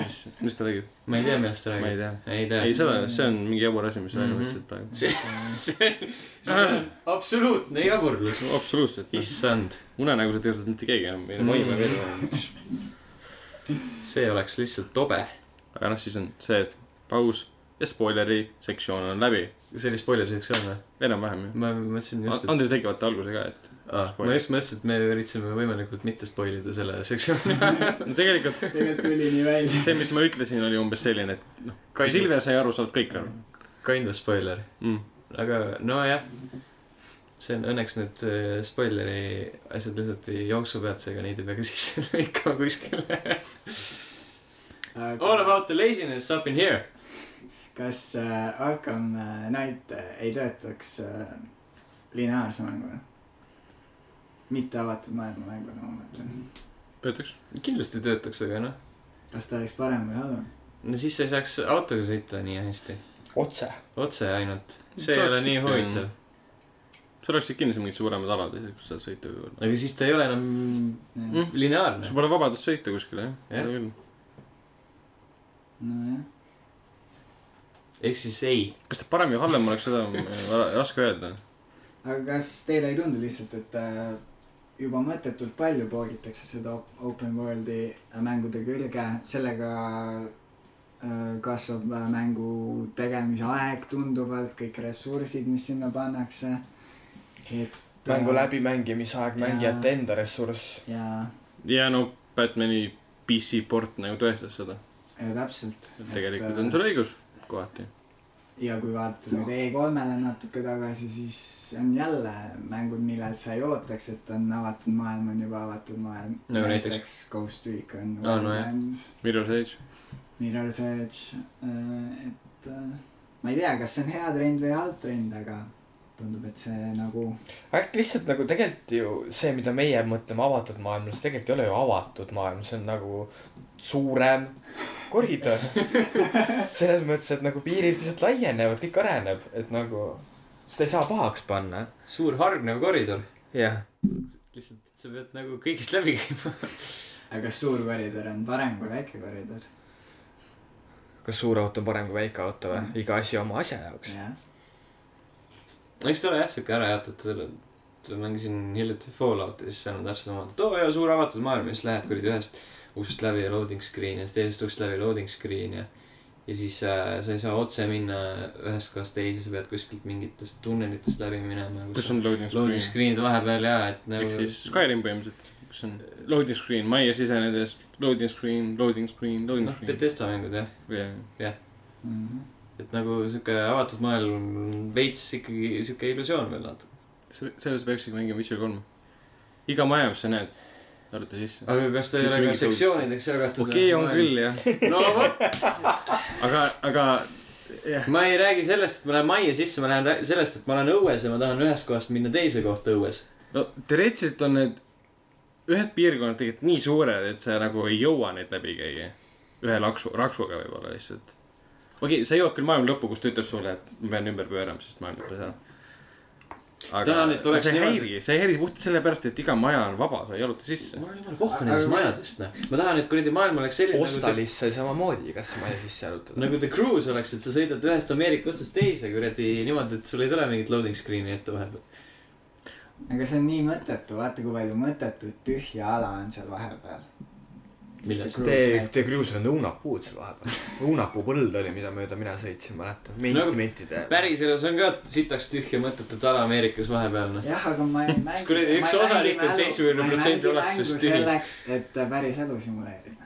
mis , mis ta räägib ,
ma ei tea , millest ta
ma ei
räägib .
tea .
ei tea .
ei , seda , see on mingi jabur asi , mis sa välja
Mhm.
võtsid praegu .
see see on absoluutne jaburlus .
absoluutselt , noh.
issand ,
unenägused ei osanud mitte keegi enam meile
Mm.
toime veel .
see oleks lihtsalt tobe .
aga noh , siis on see , et paus ja spoileri sektsioon on läbi ,
see oli spoiler sektsioon või ?
enam-vähem ju .
ma mõtlesin just , et
Andrei tegi vaata alguse ka , et
ah, , ma
spoiler.
just mõtlesin , et me üritasime võimalikult mitte spoil ida selle sektsiooni .
no tegelikult
tegelikult tuli nii välja .
see , mis ma ütlesin , oli umbes selline , et noh , kui
kind of ,
Silver sai aru , saavad kõik aru
kind of spoiler ,
mm. .
aga nojah . see on õnneks need äh, spoileri asjad lihtsalt ei jooksu pealt , seega neid ei pea ka sisse lõikama kuskile . All about the laziness up in here .
kas äh, Arkham äh, Knight äh, ei töötaks äh, lineaarse mänguna ? mitte avatud maailma mänguna , ma mõtlen .
töötaks .
kindlasti töötaks , aga noh ,
kas ta oleks parem või halvem ?
no siis sa ei saaks autoga sõita nii hästi ,
otse .
otse ainult . see ei ole
Saaks
nii
ikka,
huvitav ,
sul oleksid kindlasti mingid suuremad alad , kus saad sõita või olla .
aga siis ta ei ole enam
Mm.
lineaarne
sul . pole vabadust sõita kuskile ,
Jah.
jah ?
nojah ,
ehk siis ei ,
kas ta parem või halvem oleks , seda on äh, raske öelda .
aga kas teile ei tundu lihtsalt , et äh, juba mõttetult palju poogitakse seda op- open world'i äh, mängude külge , sellega äh, kasvab äh, mängu tegemise aeg tunduvalt , kõik ressursid , mis sinna pannakse .
mängu . läbimängimise aeg ,
Jaa.
mängijate enda ressurss .
jaa ,
ja no Batman'i PC port nagu tõestas seda .
ja täpselt .
tegelikult on sul õigus kohati .
ja kui vaadata nüüd E3-le natuke tagasi , siis on jälle mängud , millelt sa ei ootaks , et on avatud maailm , on juba avatud maailm .
Nagu näiteks?
Ghost Recon
Aa, no jah.
Wildlands no, ,
Mirror's Edge .
Mirror's Edge , et äh, ma ei tea , kas see on hea trend või halb trend , aga tundub , et see nagu
äkki lihtsalt nagu tegelikult ju see , mida meie mõtleme avatud maailmas , tegelikult ei ole ju avatud maailm , see on nagu suurem koridor . selles mõttes , et nagu piirid lihtsalt laienevad , kõik areneb , et nagu seda ei saa pahaks panna .
suur hargnev koridor ,
jah .
lihtsalt sa pead nagu kõigist läbi käima .
aga kas suur koridor on parem kui väike koridor ?
kas suur auto on parem kui väike auto või ? iga asi oma asja jaoks .
jah ,
eks ta ole jah , siuke ära jaotatud . mängisin hiljuti Fallouti , siis seal on täpselt samamoodi , et oo jaa , suur avatud maailm ja siis lähed kuradi ühest uksest läbi ja loading screen ja siis teisest uksest läbi loading screen ja . ja siis äh, sa ei saa otse minna ühest kohast teise , sa pead kuskilt mingitest tunnelitest läbi minema .
kus on loading
loading
screen ?
screen'id vahepeal ja , et
ehk
nagu
siis Skyrim põhimõtteliselt , kus on loading screen , majja sisenedes loading screen , loading screen , loading
noh ,
screen . eh,
Betesta mängud jah ,
jah ,
Mhm.
et nagu sihuke avatud maailm , veits ikkagi sihuke illusioon veel natuke .
selles peakski mängima Witcher kolme . iga maja , mis sa näed , arvuta sisse .
aga kas ta ei
Mitte
ole ka
mingit
sektsioonideks jagatud ?
okei , on küll jah ,
no vot ,
aga , aga jah ,
ma ei räägi sellest , et ma lähen majja sisse , ma lähen rää- sellest , et ma olen õues ja ma tahan ühest kohast minna teise kohta õues .
no teoreetiliselt on need ühed piirkonnad tegelikult nii suured , et sa nagu ei jõua neid läbi käia . ühe laksu , raksuga võib-olla lihtsalt . okei , sa jõuad küll maailma lõppu , kus ta ütleb sulle , et ma pean ümber pöörama , sest maailm lõpeb ära .
Tahan, et oleks
sa ei
niimoodi-
häiri , sa ei häiri puhtalt sellepärast , et iga maja on vaba , sa ei jaluta sisse .
mul on jumala kohku nendest majadest , noh . ma tahan , et kuradi maailm oleks selline nagu
Ostalis sai samamoodi igasse maja sisse jalutada .
nagu The Cruise oleks , et sa sõidad ühest Ameerika otsast teise kuradi niimoodi , et sul ei tule mingit loading screen'i ette vahepeal .
aga see on nii mõttetu , vaata kui palju mõttetut tühja ala on seal vahepeal .
milles ?
Nagu
Tee , tee krius on õunapuud seal vahepeal . õunapuupõld oli , mida mööda mina sõitsin , mäletan .
Nagu
mentimentide .
päriselus on ka sitaks tühja mõttetut ala Ameerikas vahepeal , noh .
jah , aga ma ei mängi .
kuradi üks osanik on 70% ulatuses tühi.
tühi . selleks , et päris elu simuleerida .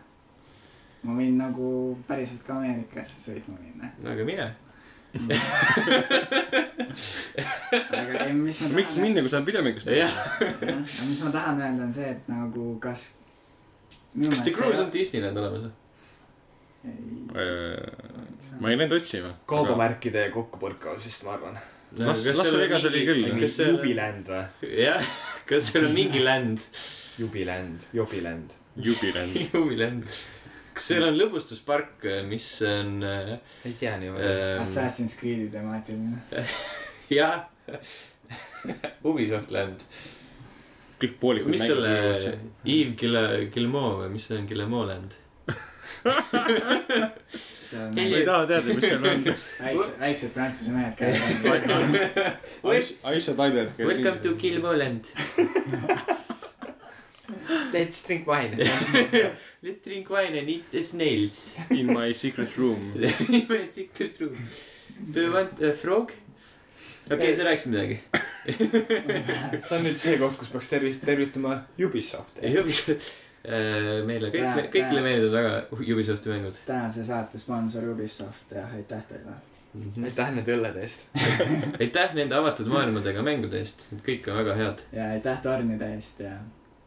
ma võin nagu päriselt ka Ameerikasse sõitma minna .
no aga mine .
aga ei, mis ma
miks
tahan
minna , kui sa oled videomängus ?
jah ,
öelda , mis ma tahan öelda , on see , et nagu kas .
kas The Cruise on ? Disneyland olemas või ?
Äh, ma ei läinud otsima .
kaubamärkide kokkupõrkavusest , ma arvan .
Las- Las Vegas oli küll.
kas see on ,
jubiländ või ?
jah , kas seal on mingi land ,
jubiländ , jobiländ .
jubiländ .
jubiland ? kas seal on lõbustuspark , mis on äh,
ei tea niimoodi .
Ehm,
äh, ,
Assassin's Creed'i temaatiline .
jah , Ubisoft land .
kõik poolikud .
mis selle , Yves Gille- , Guillemot või mis see on , Guillemot land ?
see on nagu
ma ei taha teada , mis seal on .
väiksed , väiksed prantsuse mehed käivad . nagu.
Aisha Tyler .
Welcome to . Guillemot land .
Let's drink wine .
Let's drink wine and eat the snails .
In my secret room .
My secret room . Do you want a frog ? okei okay, , sa rääkisid midagi .
see on nüüd see koht , kus peaks tervist , tervitama Ubisofti .
Ubisoft , Ehm, meile kõik
Jaa, ,
kõigile
jaa.
meeldivad väga Ubisofti mängud .
tänase saate sponsor Ubisoft ja aitäh teile .
Mhm.
aitäh nende õllede eest .
aitäh nende avatud maailmadega mängude eest , need kõik on väga head
ja aitäh tornide eest ja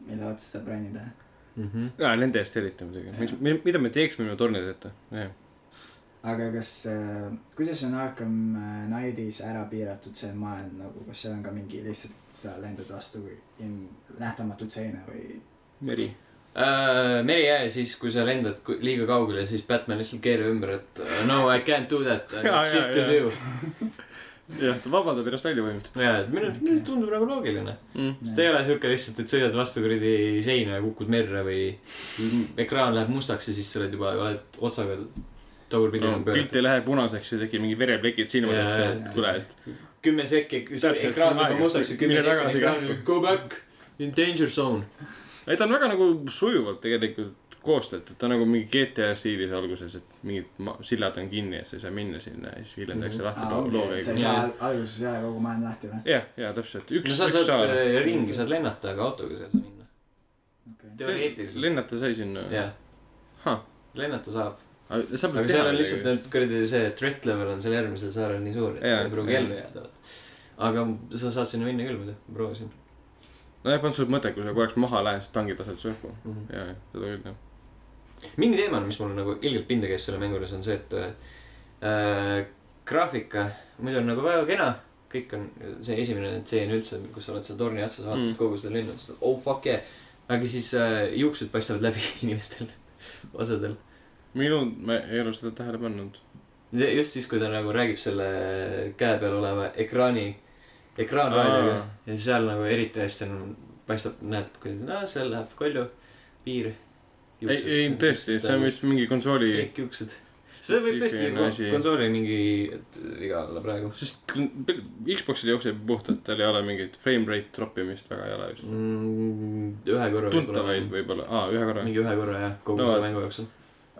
mille otsa saab ronida .
mm . -hmm.
jaa , nende eest eriti muidugi . miks , mida me teeks , kui me tornideta ?
aga kas , kuidas on Arkham äh, Knightis ära piiratud see maailm nagu , kas seal on ka mingi lihtsalt sa lendad vastu in- nähtamatut seina või ?
meri .
Uh, meri jää siis , kui sa lendad ku- liiga kaugele , siis Batman lihtsalt keerab ümber , et uh, no I can't do that , I
Jaa,
got shit
jaa,
to
jaa.
do .
jah , ta vabandab ennast välja põhimõtteliselt .
jaa , et minu arust tundub nagu loogiline . sest ei ole siuke lihtsalt , et sõidad vastu kuradi seina ja kukud merre või ekraan läheb mustaks ja siis sa oled juba , oled otsaga tagurpidi
No,
no,
pilt
pööratud .
ei nagu lähe punaseks ja tekib mingi vereplekid silmadesse
Jaa, ,
et kuule , et
kümme sekki ,
Täpselt,
ekraan
sul on
läheb
aega.
mustaks ja kümme
Mine
sekki
tagasi
ekraan , go back in danger zone .
ei ta on väga nagu sujuvalt tegelikult koostatud , ta on nagu mingi GTA stiilis alguses , et mingid ma- sillad on kinni ja sa ei saa minna sinna ja siis hiljem
Mhm.
tehakse lahti loo- loo
sa ei
käigus .
saa alguses ei ole kogu maailm lahti või ?
jah , jaa , täpselt . üks ,
no
üks
sa saad
saal .
äh, ringi , saad lennata , aga autoga sa ei saa minna .
Okei.
teoreetiliselt ,
lennata sai sinna .
jah .
Huh.
lennata saab .
sa
aga
pead
seal
teha
on lihtsalt
midagi .
need kuradi see threat level on seal järgmisel saarel nii suur , et
Jaa,
sa ei pruugi
jaa.
ellu jääda . aga sa saad sinna minna küll muidu , ma proovisin
nojah , on sul mõte , kui sa korraks maha lähed , siis tangi tasaldas õhku .
mm . -hmm.
jaa , seda küll jah .
mingi teema , mis mul nagu ilgelt pinda käis selle mängu juures , on see , et äh, graafika muidu on nagu väga kena , kõik on see esimene tseen üldse , kus sa oled seal torni otsas , vaatad
Mm.
mm. kogu seda linna , siis oh fuck yeah , aga siis äh, juuksed paistavad läbi inimestel , osadel .
minu , ma ei ole seda tähele pannud .
just siis , kui ta nagu räägib selle käe peal oleva ekraani , ekraanraadioga
Aa.
ja siis seal nagu eriti hästi on , paistab , näed , kuidas , aa , seal läheb kolju , piir .
ei , ei tõesti , see on vist mingi konsooli
kõik juuksed . see võib tõesti nagu
Spetsiifiline asi.
kon- konsooli mingi et viga olla praegu
sest Xboxil jookseb puhtalt , tal ei ole mingit frame rate troppimist väga ei ole vist .
mm, . ühe korra .
tuntavaid . võib-olla , aa , ühe korra .
mingi ühe korra jah , kogu
No
no, selle
vot.
mängu jooksul .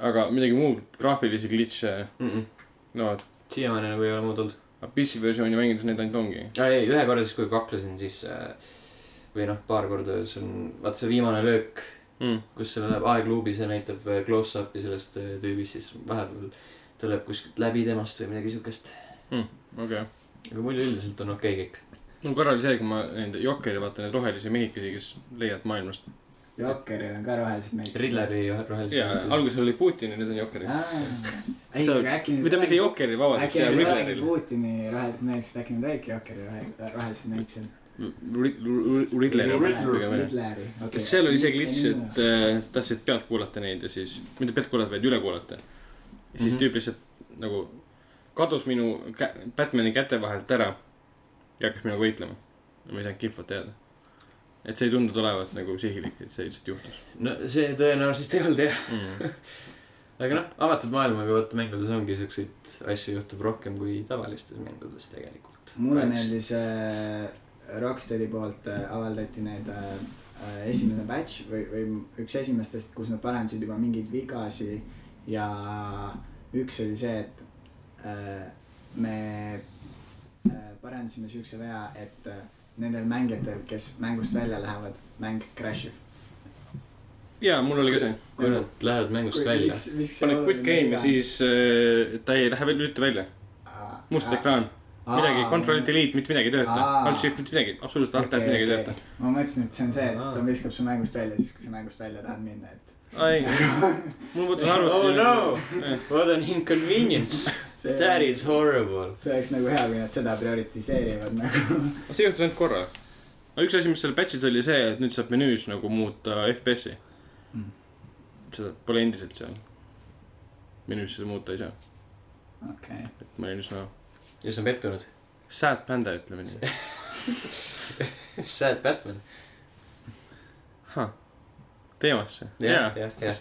aga midagi muud , graafilisi glitch'e ,
mm -mm.
no et
siiamaani nagu ei ole muud olnud .
aga PC versiooni mängides neid ainult ongi .
aa ei , ühe korra siis , kui kaklesin , siis äh, või noh , paar korda , see on , vaata see viimane löök ,
Mm.
kus see läheb aegluubi , see näitab äh, close-up'i sellest äh, tüübist , siis vahepeal ta lööb kuskilt läbi temast või midagi siukest .
okei okay. ,
aga muidu üldiselt on okei okay kõik .
mul korra oli see , kui ma neid Jokeri , vaata neid rohelisi mehikesi , kes leiad maailmast .
Jokkeril on ka rohelised näitused .
Ridleri rohelised
jaa , alguses oli Putin ja nüüd on Jokerid .
ei ,
See-
aga äkki .
mitte , mitte . Jokeri , vabandust ,
Äh, äkki nad ei räägi
Riddleril .
Putini rohelised näitused , äkki nad räägivadki Jokeri rohe- rohelised näitused .
Riddleri pigem jah .
okei .
et seal oli see glitch , et äh, tahtsid pealt kuulata neid ja siis , mitte pealt kuulata , vaid üle kuulata . ja siis
Mhm.
tüüp lihtsalt nagu kadus minu kä- , Batman'i käte vahelt ära ja hakkas minuga võitlema . ma ei saanudki infot teada . et see ei tundunud olevat nagu sihilik , et see lihtsalt juhtus
no see tõenäoliselt ei olnud jah ,
Mhm.
mm. .
aga noh , avatud maailmaga vaata mängudes ongi siukseid asju juhtub rohkem kui tavalistes mängudes tegelikult .
mulle . meeldis äh, Rocksteadi poolt äh, avaldati need äh, äh, esimene batch või , või üks esimestest , kus nad parandasid juba mingeid vigasi ja üks oli see , et äh, me äh, parandasime siukse vea , et äh, nendel mängijatel , kes mängust välja lähevad , mäng crash ib .
ja mul oli ka see ,
kui nad lähevad mängust välja .
paned quit game ja siis äh, ta ei lähe veel üldse välja ,
Ah.
must ekraan , midagi , control delete , mitte midagi ei tööta ,
Aa.
alt shift , mitte midagi , absoluutselt alt
Ah. Okei,
alt midagi ei
okei.
tööta .
ma mõtlesin , et see on see , et ta
Aa.
viskab su mängust välja siis , kui sa mängust välja tahad minna , et
aa ei , mul puudus
oh
arvuti .
no , what an inconvenience ,
see
that is horrible .
see oleks nagu hea , kui nad seda prioritiseerivad nagu .
aga see juhtus ainult korra . no üks asi , mis seal patch'is oli see , et nüüd saab menüüs nagu muuta FPS-i
Mm.
mm. . seda pole endiselt seal . menüüs seda muuta ei saa ,
okei ,
et ma olin üsna
ja see on pettunud .
sad panda , ütleme nii .
Sad Batman .
teemasse , jaa
jah ,. jah , jah .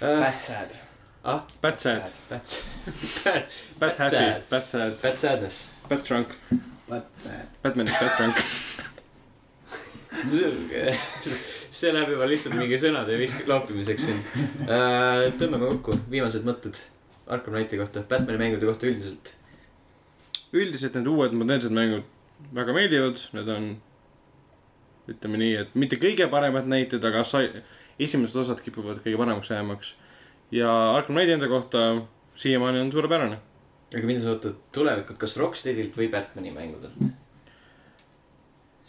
Bad sad .
ah ,
Bad sad ,
that's ,
bad
Bad
happy
sad. ,
bad sad ,
that's sadness .
bad drunk ,
vot see ,
Batman is bad drunk .
see läheb juba lihtsalt mingi sõnade visk- , loopimiseks siin uh, . tõmbame kokku viimased mõtted Arkham Knighti kohta , Batman'i mängude kohta üldiselt .
üldiselt need uued modernsed mängud väga meeldivad , need on ütleme nii , et mitte kõige paremad näited , aga sai- , esimesed osad kipuvad kõige paremaks jäämaks . ja Arkham Knighti enda kohta siiamaani on suurepärane .
aga mida sa ootad tulevikult , kas Rocksteadilt või Batman'i mängudelt ?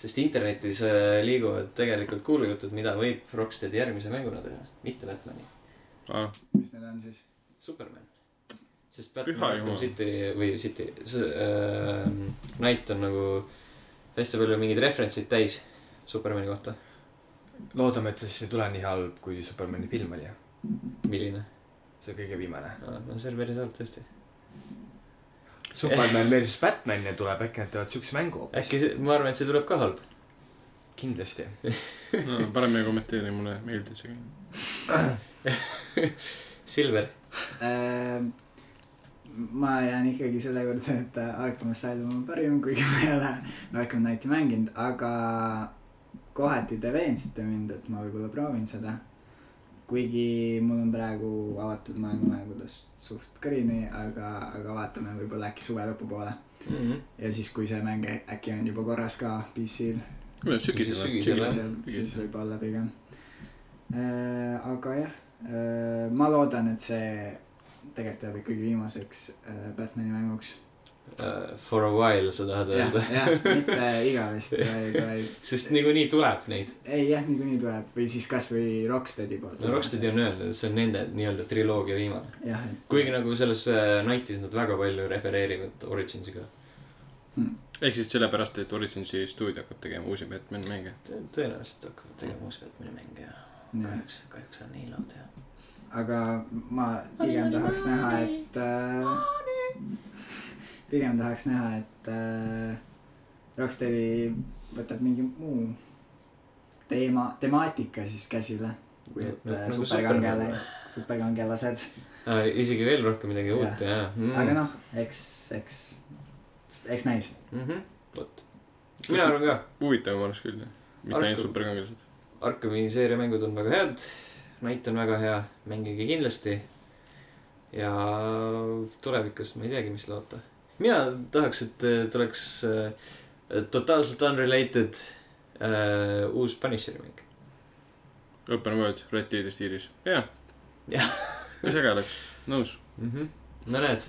sest internetis äh, liiguvad tegelikult kuulujutud , mida võib Rocksteadi järgmise mänguna teha , mitte Batman'i .
Ah,
mis need on siis ?
Superman . sest
Püha
Batman Arkham
jumal.
City või City , see äh, Knight on nagu hästi palju mingeid referentseid täis Supermani kohta .
loodame , et see siis ei tule nii halb , kui Supermani film oli .
milline ?
see kõige viimane .
no see oli päris halb tõesti .
Superman versus Batman ja tuleb , äkki nad teevad siukse mängu hoopis .
äkki see , ma arvan , et see tuleb ka halb .
kindlasti .
no, paremini kommenteeri , mulle meeldis .
Silver .
Ehm, ma jään ikkagi selle juurde , et äh, Arkham Asylum on parim , kuigi ma ei ole Arkham Knighti mänginud , aga kohati te veensite mind , et ma võib-olla proovin seda . kuigi mul on praegu avatud maailma mängudes suht kõrini , aga , aga vaatame võib-olla äkki suve lõpupoole .
mm . -hmm.
ja siis , kui see mäng ä- äkki on juba korras ka PC-l ,
kuidas sügisel või ?
Sügisel,
sügisel .
siis , siis võib-olla pigem . aga jah , ma loodan , et see tegelikult jääb ikkagi viimaseks äh, Batman'i mänguks .
Uh, for a while sa tahad
jah ,
öelda .
jah , mitte igavesti , vaid , vaid
sest niikuinii tuleb neid .
ei jah , niikuinii tuleb või siis kasvõi Rocksteadi poolt .
no Rocksteadi on . öelnud , et see on nende nii-öelda triloogia viimane .
jah , et .
kuigi nagu selles äh, Knightis nad väga palju refereerivad Originsiga .
ehk siis sellepärast , et Originsi stuudio hakkab tegema uusi Batman mänge .
tõenäoliselt hakkavad tegema uusi Batman'i mänge ja
jah.
kahjuks , kahjuks on nii laud ja .
aga ma pigem tahaks näha , et äh, pigem tahaks näha , et äh, Rocksteadi võtab mingi muu teema , temaatika siis käsile , kui et
No,
äh,
nagu
superkangele
Superman. ,
superkangelased ,
Ah, isegi veel rohkem midagi uut ja, ja. . Mm.
aga noh , eks , eks , eks näis .
mm . -hmm. vot . mina arvan ka ,
huvitavam oleks küll , jah . mitte
Arkham-
ainult superkangelased .
Arkami seeria mängud on väga head . mäit on väga hea , mängige kindlasti . ja tulevikus ma ei teagi , mis loota . mina tahaks , et äh, tuleks äh, totaalselt unrelated äh, uus Punisheri mäng .
Open World , Red Dead stiilis , jah .
Jah.
mis äge oleks , nõus .
no näed .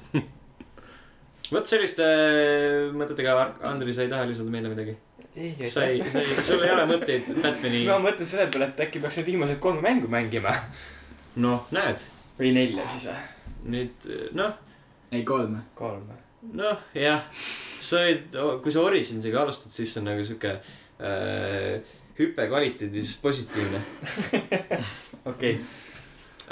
vot selliste äh, mõtetega , Andri , sa ei taha lisada meile midagi ?
ei ,
sa ei , sa ei , sul ei ole mõtteid Batman'i
ma mõtlen selle peale , et äkki peaks need viimased kolm mängu mängima .
noh , näed ,
või nelja siis või ?
nüüd noh ,
ei , kolm .
kolm .
noh , jah , sa olid , kui sa Originsiga alustad , siis see on nagu sihuke äh, hüpe kvaliteedis positiivne .
okei ,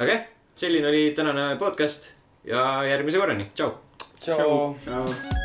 aga jah , selline oli tänane podcast ja järgmise korrani , tšau .
tšau .
tšau .